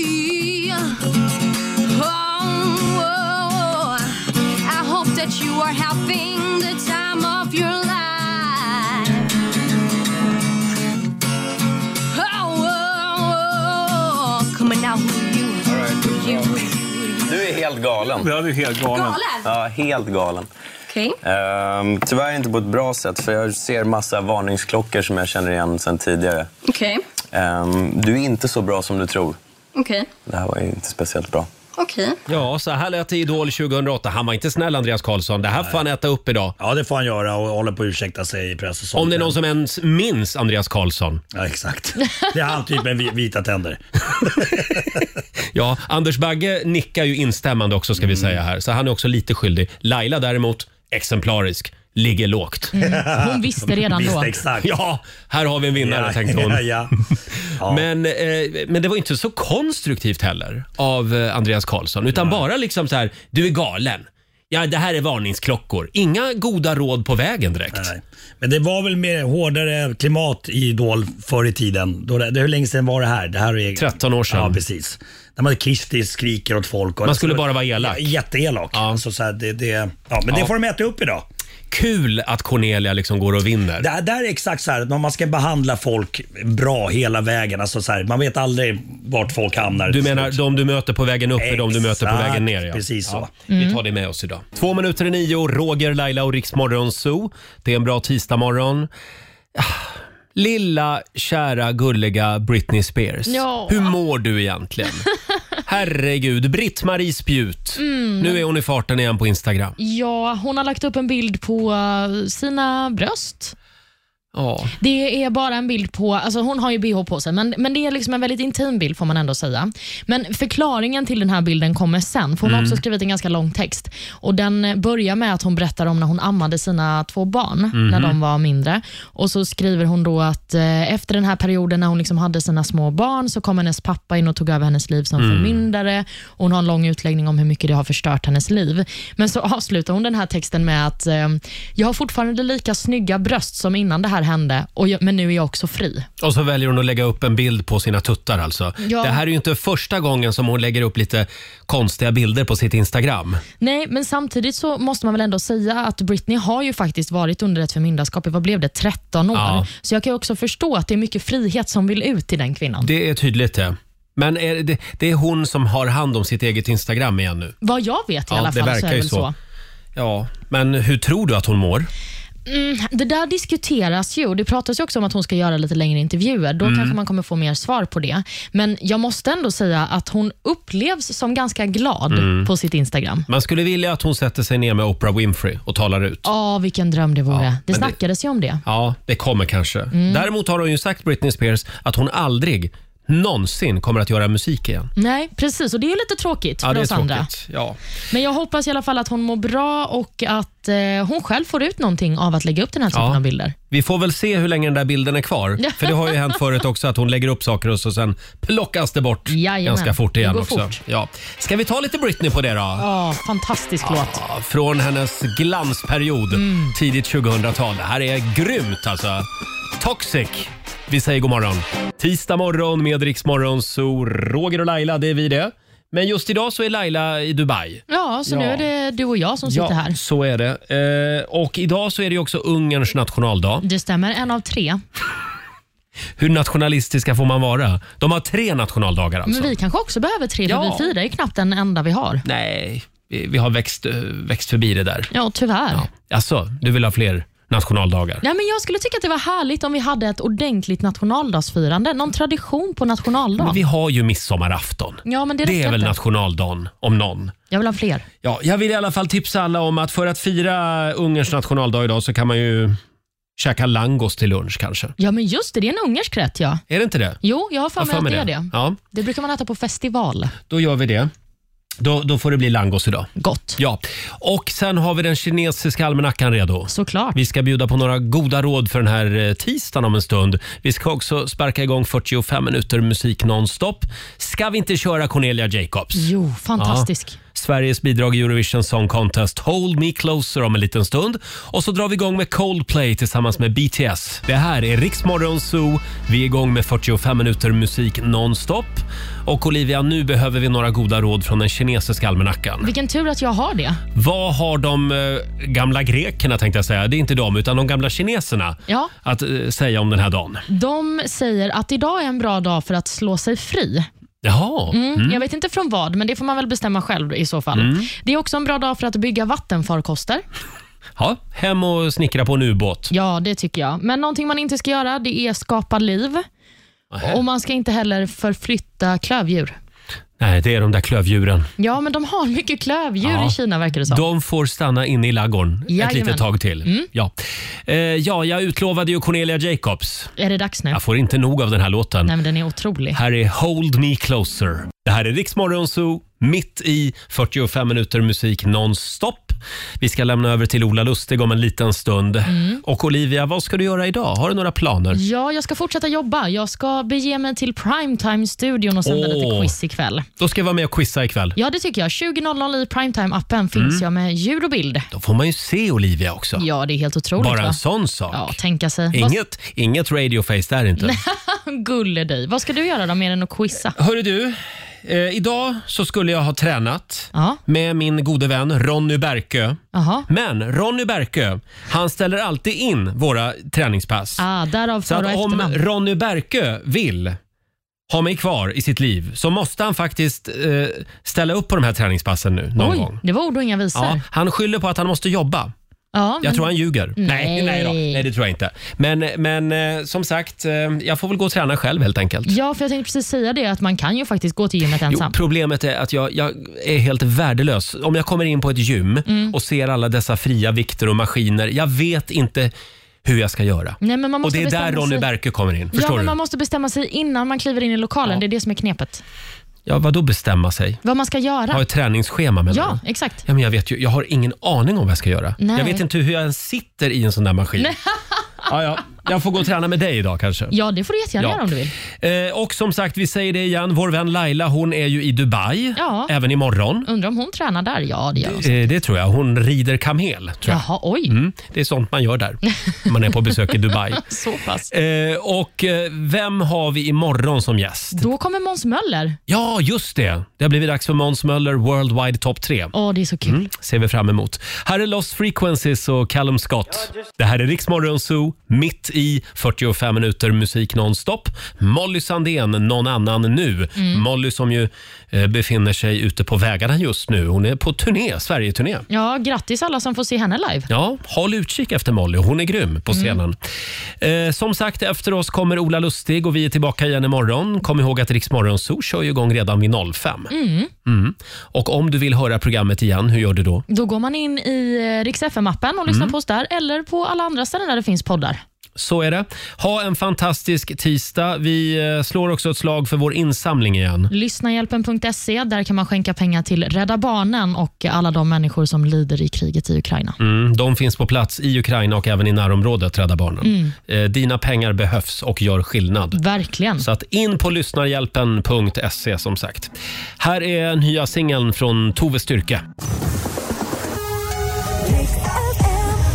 Oh, I hope that you are having the time of your life. Oh, oh, come on now, who you, who you.
Du är helt galen.
Ja, du är helt
galen. Galen?
Ja, helt galen.
Okay.
Ehm, tyvärr inte på ett bra sätt, för jag ser massa varningsklockor som jag känner igen sedan tidigare.
Okay.
Ehm, du är inte så bra som du tror.
Okay.
Det här var ju inte speciellt bra.
Okay.
Ja, så här lät det i Idol 2008. Han var inte snäll, Andreas Karlsson. Det här får han äta upp idag.
Ja, det får han göra och håller på att ursäkta sig i press och sånt.
Om det är någon som ens minns Andreas Karlsson.
Ja, exakt. Det är han typ med vi- vita tänder.
Ja, Anders Bagge nickar ju instämmande också ska vi säga här, så han är också lite skyldig. Laila däremot, exemplarisk, ligger lågt.
Mm, hon visste redan då. Visste
exakt.
Ja, här har vi en vinnare
Ja,
tänkte hon.
ja, ja.
Men, eh, men det var inte så konstruktivt heller av eh, Andreas Karlsson, utan bara liksom så här, du är galen. Ja, det här är varningsklockor. Inga goda råd på vägen direkt.
Men det var väl mer hårdare klimat i Idol förr i tiden. Då det, det, hur länge sedan var det här? Det här är,
13 år sedan.
Ja, precis. När man Kristi skriker åt folk. Och
Man skulle bara vara elak.
Ja, Jätteelak. Alltså, så här, det, det, ja, men
Ja.
det får de äta upp idag.
Kul att Cornelia liksom går och vinner.
Det där är exakt så här, när man ska behandla folk bra hela vägen. Alltså så här, man vet aldrig vart folk hamnar.
Du menar de du möter på vägen upp är de du möter på
Exakt,
vägen ner? Ja.
precis så.
Ja,
Mm.
Vi tar det med oss idag. Två minuter i nio, Roger, Laila och Riksmorgon Zoo. Det är en bra tisdagmorgon. Ah, Lilla, kära, gulliga Britney Spears.
Ja.
Hur mår du egentligen? Herregud, Britt-Marie Spjut.
Mm.
Nu är hon i farten igen på Instagram.
Ja, hon har lagt upp en bild på eh, sina bröst.
Ja.
Det är bara en bild på, alltså hon har ju bh på sig, men, men det är liksom en väldigt intim bild får man ändå säga. Men förklaringen till den här bilden kommer sen, för hon har
Mm.
också skrivit en ganska lång text. Och Den eh, börjar med att hon berättar om när hon ammade sina två barn,
Mhm.
när de var mindre. Och så skriver hon då att eh, efter den här perioden när hon liksom hade sina små barn, så kom hennes pappa in och tog över hennes liv som
Mm.
förmyndare. Och hon har en lång utläggning om hur mycket det har förstört hennes liv. Men så avslutar hon den här texten med att eh, jag har fortfarande lika snygga bröst som innan det här hände, och jag, men nu är jag också fri.
Och så väljer hon att lägga upp en bild på sina tuttar alltså.
Ja.
Det här är ju inte första gången som hon lägger upp lite konstiga bilder på sitt Instagram.
Nej, men samtidigt så måste man väl ändå säga att Britney har ju faktiskt varit under ett förmyndarskap i, vad blev det, 13 år.
Ja.
Så jag kan ju också förstå att det är mycket frihet som vill ut till den kvinnan.
Det är tydligt det. Men är det, det är hon som har hand om sitt eget Instagram igen nu.
Vad jag vet i alla fall så är det väl så.
Ja, men hur tror du att hon mår?
Mm, det där diskuteras ju. och Det pratas ju också om att hon ska göra lite längre intervjuer. Då
Mm.
kanske man kommer få mer svar på det. Men jag måste ändå säga att hon upplevs som ganska glad
Mm.
på sitt Instagram.
Man skulle vilja att hon sätter sig ner med Oprah Winfrey och talar ut.
Ja, vilken dröm det vore. det
men det-
snackades ju om det.
Ja, det kommer kanske.
Mm.
Däremot har hon ju sagt Britney Spears att hon aldrig någonsin kommer att göra musik igen.
Nej, precis. Och det är ju lite tråkigt
Ja,
för
det är
oss andra.
tråkigt. Ja.
Men jag hoppas i alla fall att hon mår bra och att eh, hon själv får ut någonting av att lägga upp den här typen
Ja.
av bilder.
Vi får väl se hur länge den där bilden är kvar. För det har ju hänt förut också att hon lägger upp saker och så sen plockas det bort
Jajamän.
ganska fort igen
Det går
också.
fort.
Ja. Ska vi ta lite Britney på det då?
Ja, fantastisk låt.
Ja, Från hennes glansperiod
Mm.
tidigt 2000-tal. Det här är grymt alltså. Toxic. Vi säger god morgon. Tisdag morgon med Rix Morgon, så Roger och Laila, det är vi det. Men just idag så är Laila i Dubai.
Ja, så nu
Ja.
är det du och jag som sitter här.
så är det. Eh, och idag så är det ju också Ungerns nationaldag.
Det stämmer, en av tre.
Hur nationalistiska får man vara? De har tre nationaldagar alltså.
Men vi kanske också behöver tre, för
Ja.
vi firar ju knappt den enda vi har.
Nej, vi, vi har växt, eh, växt förbi det där.
Ja, tyvärr.
Alltså, du vill ha fler nationaldagar?
Nej, men jag skulle tycka att det var härligt om vi hade ett ordentligt nationaldagsfirande. Någon tradition på nationaldagen.
Men vi har ju midsommarafton.
Ja, men det
Det
räcker
är väl
inte.
nationaldagen om någon.
Jag vill ha fler.
Ja, jag vill i alla fall tipsa alla om att för att fira Ungerns nationaldag idag så kan man ju käka langos till lunch kanske.
Ja, men just det. Det är en ungersk rätt, ja.
Är det inte det?
Jo, jag har för
Jag
mig att det är det.
Ja,
Det brukar man äta på festival.
då gör vi det. Då, då får det bli langos idag.
Gott.
Ja. Och sen har vi den kinesiska almanackan redo.
Såklart.
Vi ska bjuda på några goda råd för den här eh, tisdagen om en stund. Vi ska också sparka igång 45 minuter musik nonstop. Ska vi inte köra Cornelia Jacobs?
Jo, fantastisk.
Ja. Sveriges bidrag i Eurovision Song Contest Hold Me Closer om en liten stund. Och så drar vi igång med Coldplay tillsammans med BTS. Det här är Riksmorgon Zoo. Vi är igång med 45 minuter musik nonstop. Och Olivia, nu behöver vi några goda råd från den kinesiska almanackan.
Vilken tur att jag har det.
Vad har de eh, gamla grekerna, tänkte jag säga, det är inte de, utan de gamla kineserna
Ja.
att eh, säga om den här dagen?
De säger att idag är en bra dag för att slå sig fri.
Jaha.
Mm,
Mm.
Jag vet inte från vad, men det får man väl bestämma själv i så fall.
Mm.
Det är också en bra dag för att bygga vattenfarkoster.
Ja, hem och snickra på en ubåt.
Ja, det tycker jag. Men någonting man inte ska göra, det är skapa liv. Och man ska inte heller förflytta klövdjur.
Nej, det är de där klövdjuren.
Ja, men de har mycket klövdjur
Ja.
i Kina verkar det som.
De får stanna inne i ladugården ett
Jajamän.
litet tag till.
Mm.
Ja. Eh, ja, jag utlovade ju Cornelia Jacobs.
Är det dags nu?
Jag får inte nog av den här låten.
Nej, men den är otrolig.
Här är Hold Me Closer. Det här är Riksmorgon Zoo, mitt i 45 minuter musik nonstop. Vi ska lämna över till Ola Lustig om en liten stund.
Mm.
Och Olivia, vad ska du göra idag? Har du några planer?
Ja, jag ska fortsätta jobba. Jag ska bege mig till Primetime-studion och sända lite
Åh.
quiz ikväll.
Då ska jag vara med och quizza ikväll.
Ja, det tycker jag. 20.00 i Primetime-appen finns
Mm.
jag med ljud och bild.
Då får man ju se Olivia också.
Ja, det är helt otroligt.
Bara
va?
en sån sak.
Ja, tänka sig.
Inget, inget radioface där inte.
Vad... Gulle dig. Vad ska du göra då, mer än att quizza?
Hörru du, eh, idag så skulle jag ha tränat med min gode vän Ronny Berkö.
Jaha.
Men Ronny Berkö, han ställer alltid in våra träningspass.
Ah, därav
så
för och
att om
efternamn.
Ronny Berkö vill ha mig kvar i sitt liv så måste han faktiskt eh, ställa upp på de här träningspassen nu någon
Oj,
gång.
det var ord och inga visor.
Ja, han skyller på att han måste jobba.
Ja,
Jag
men-
tror han ljuger. Nej, nej, nej, då. nej det tror jag inte. Men, men eh, som sagt, eh, jag får väl gå och träna själv helt enkelt.
Ja, för jag tänkte precis säga det, att man kan ju faktiskt gå till gymmet
Jo,
ensam.
problemet är att jag, jag är helt värdelös. Om jag kommer in på ett gym
Mm.
och ser alla dessa fria vikter och maskiner, jag vet inte hur jag ska göra.
Nej, men man
och
måste
det är där
bestämma
Ronny
sig.
Berke kommer in.
ja,
Förstår du?
men man måste bestämma sig innan man kliver in i lokalen. Det är det som är knepet.
Ja, vadå bestämma sig?
Vad man ska göra.
Ha ett träningsschema med
Ja, exakt.
Ja, men jag, vet ju, jag har ingen aning om vad jag ska göra.
Nej.
Jag vet inte hur jag ens sitter i en sån där maskin.
Nej.
Ja, ja. Jag får gå och träna med dig idag kanske.
Ja, det får du jättegärna
Ja.
göra om du vill.
Eh, och som sagt, vi säger det igen. Vår vän Laila, hon är ju i Dubai
Ja.
även imorgon.
Undrar om hon tränar där? Ja, det gör hon.
Eh, Det tror jag. Hon rider kamel. Tror jag.
Jaha, oj.
Mm, det är sånt man gör där, när man är på besök i Dubai.
Så pass.
Eh, och eh, vem har vi imorgon som gäst?
Då kommer Måns Möller.
Ja, just det. Det har blivit dags för Måns Möller Worldwide Top 3.
Åh, det är så kul.
ser vi fram emot. Här är Lost Frequencies och Callum Scott. Det här är Riksmorgon Zoo, mitt i 45 minuter musik nonstop. Molly Sandén, någon annan nu. Molly som ju eh, befinner sig ute på vägarna just nu. Hon är på turné, Sverige-turné.
Ja, grattis alla som får se henne live.
Ja, håll utkik efter Molly. Hon är grym på
Mm.
scenen. Eh, som sagt, efter oss kommer Ola Lustig och vi är tillbaka igen imorgon. Kom ihåg att Rix Morgon Zoo kör ju igång redan vid 05.
Mm.
Mm. Och om du vill höra programmet igen, hur gör du då?
Då går man in i eh, Rix FM-appen och lyssnar
Mm.
på oss där, eller på alla andra ställen där det finns poddar.
Så är det. Ha en fantastisk tisdag. Vi eh, slår också ett slag för vår insamling igen.
Lyssnahjälpen.se, där kan man skänka pengar till Rädda Barnen och alla de människor som lider i kriget i Ukraina.
Mm, de finns på plats i Ukraina och även i närområdet, Rädda Barnen.
Mm.
Eh, dina pengar behövs och gör skillnad.
Verkligen.
Så att in på lyssnarhjälpen.se som sagt. Här är nya singeln från Tove Styrke.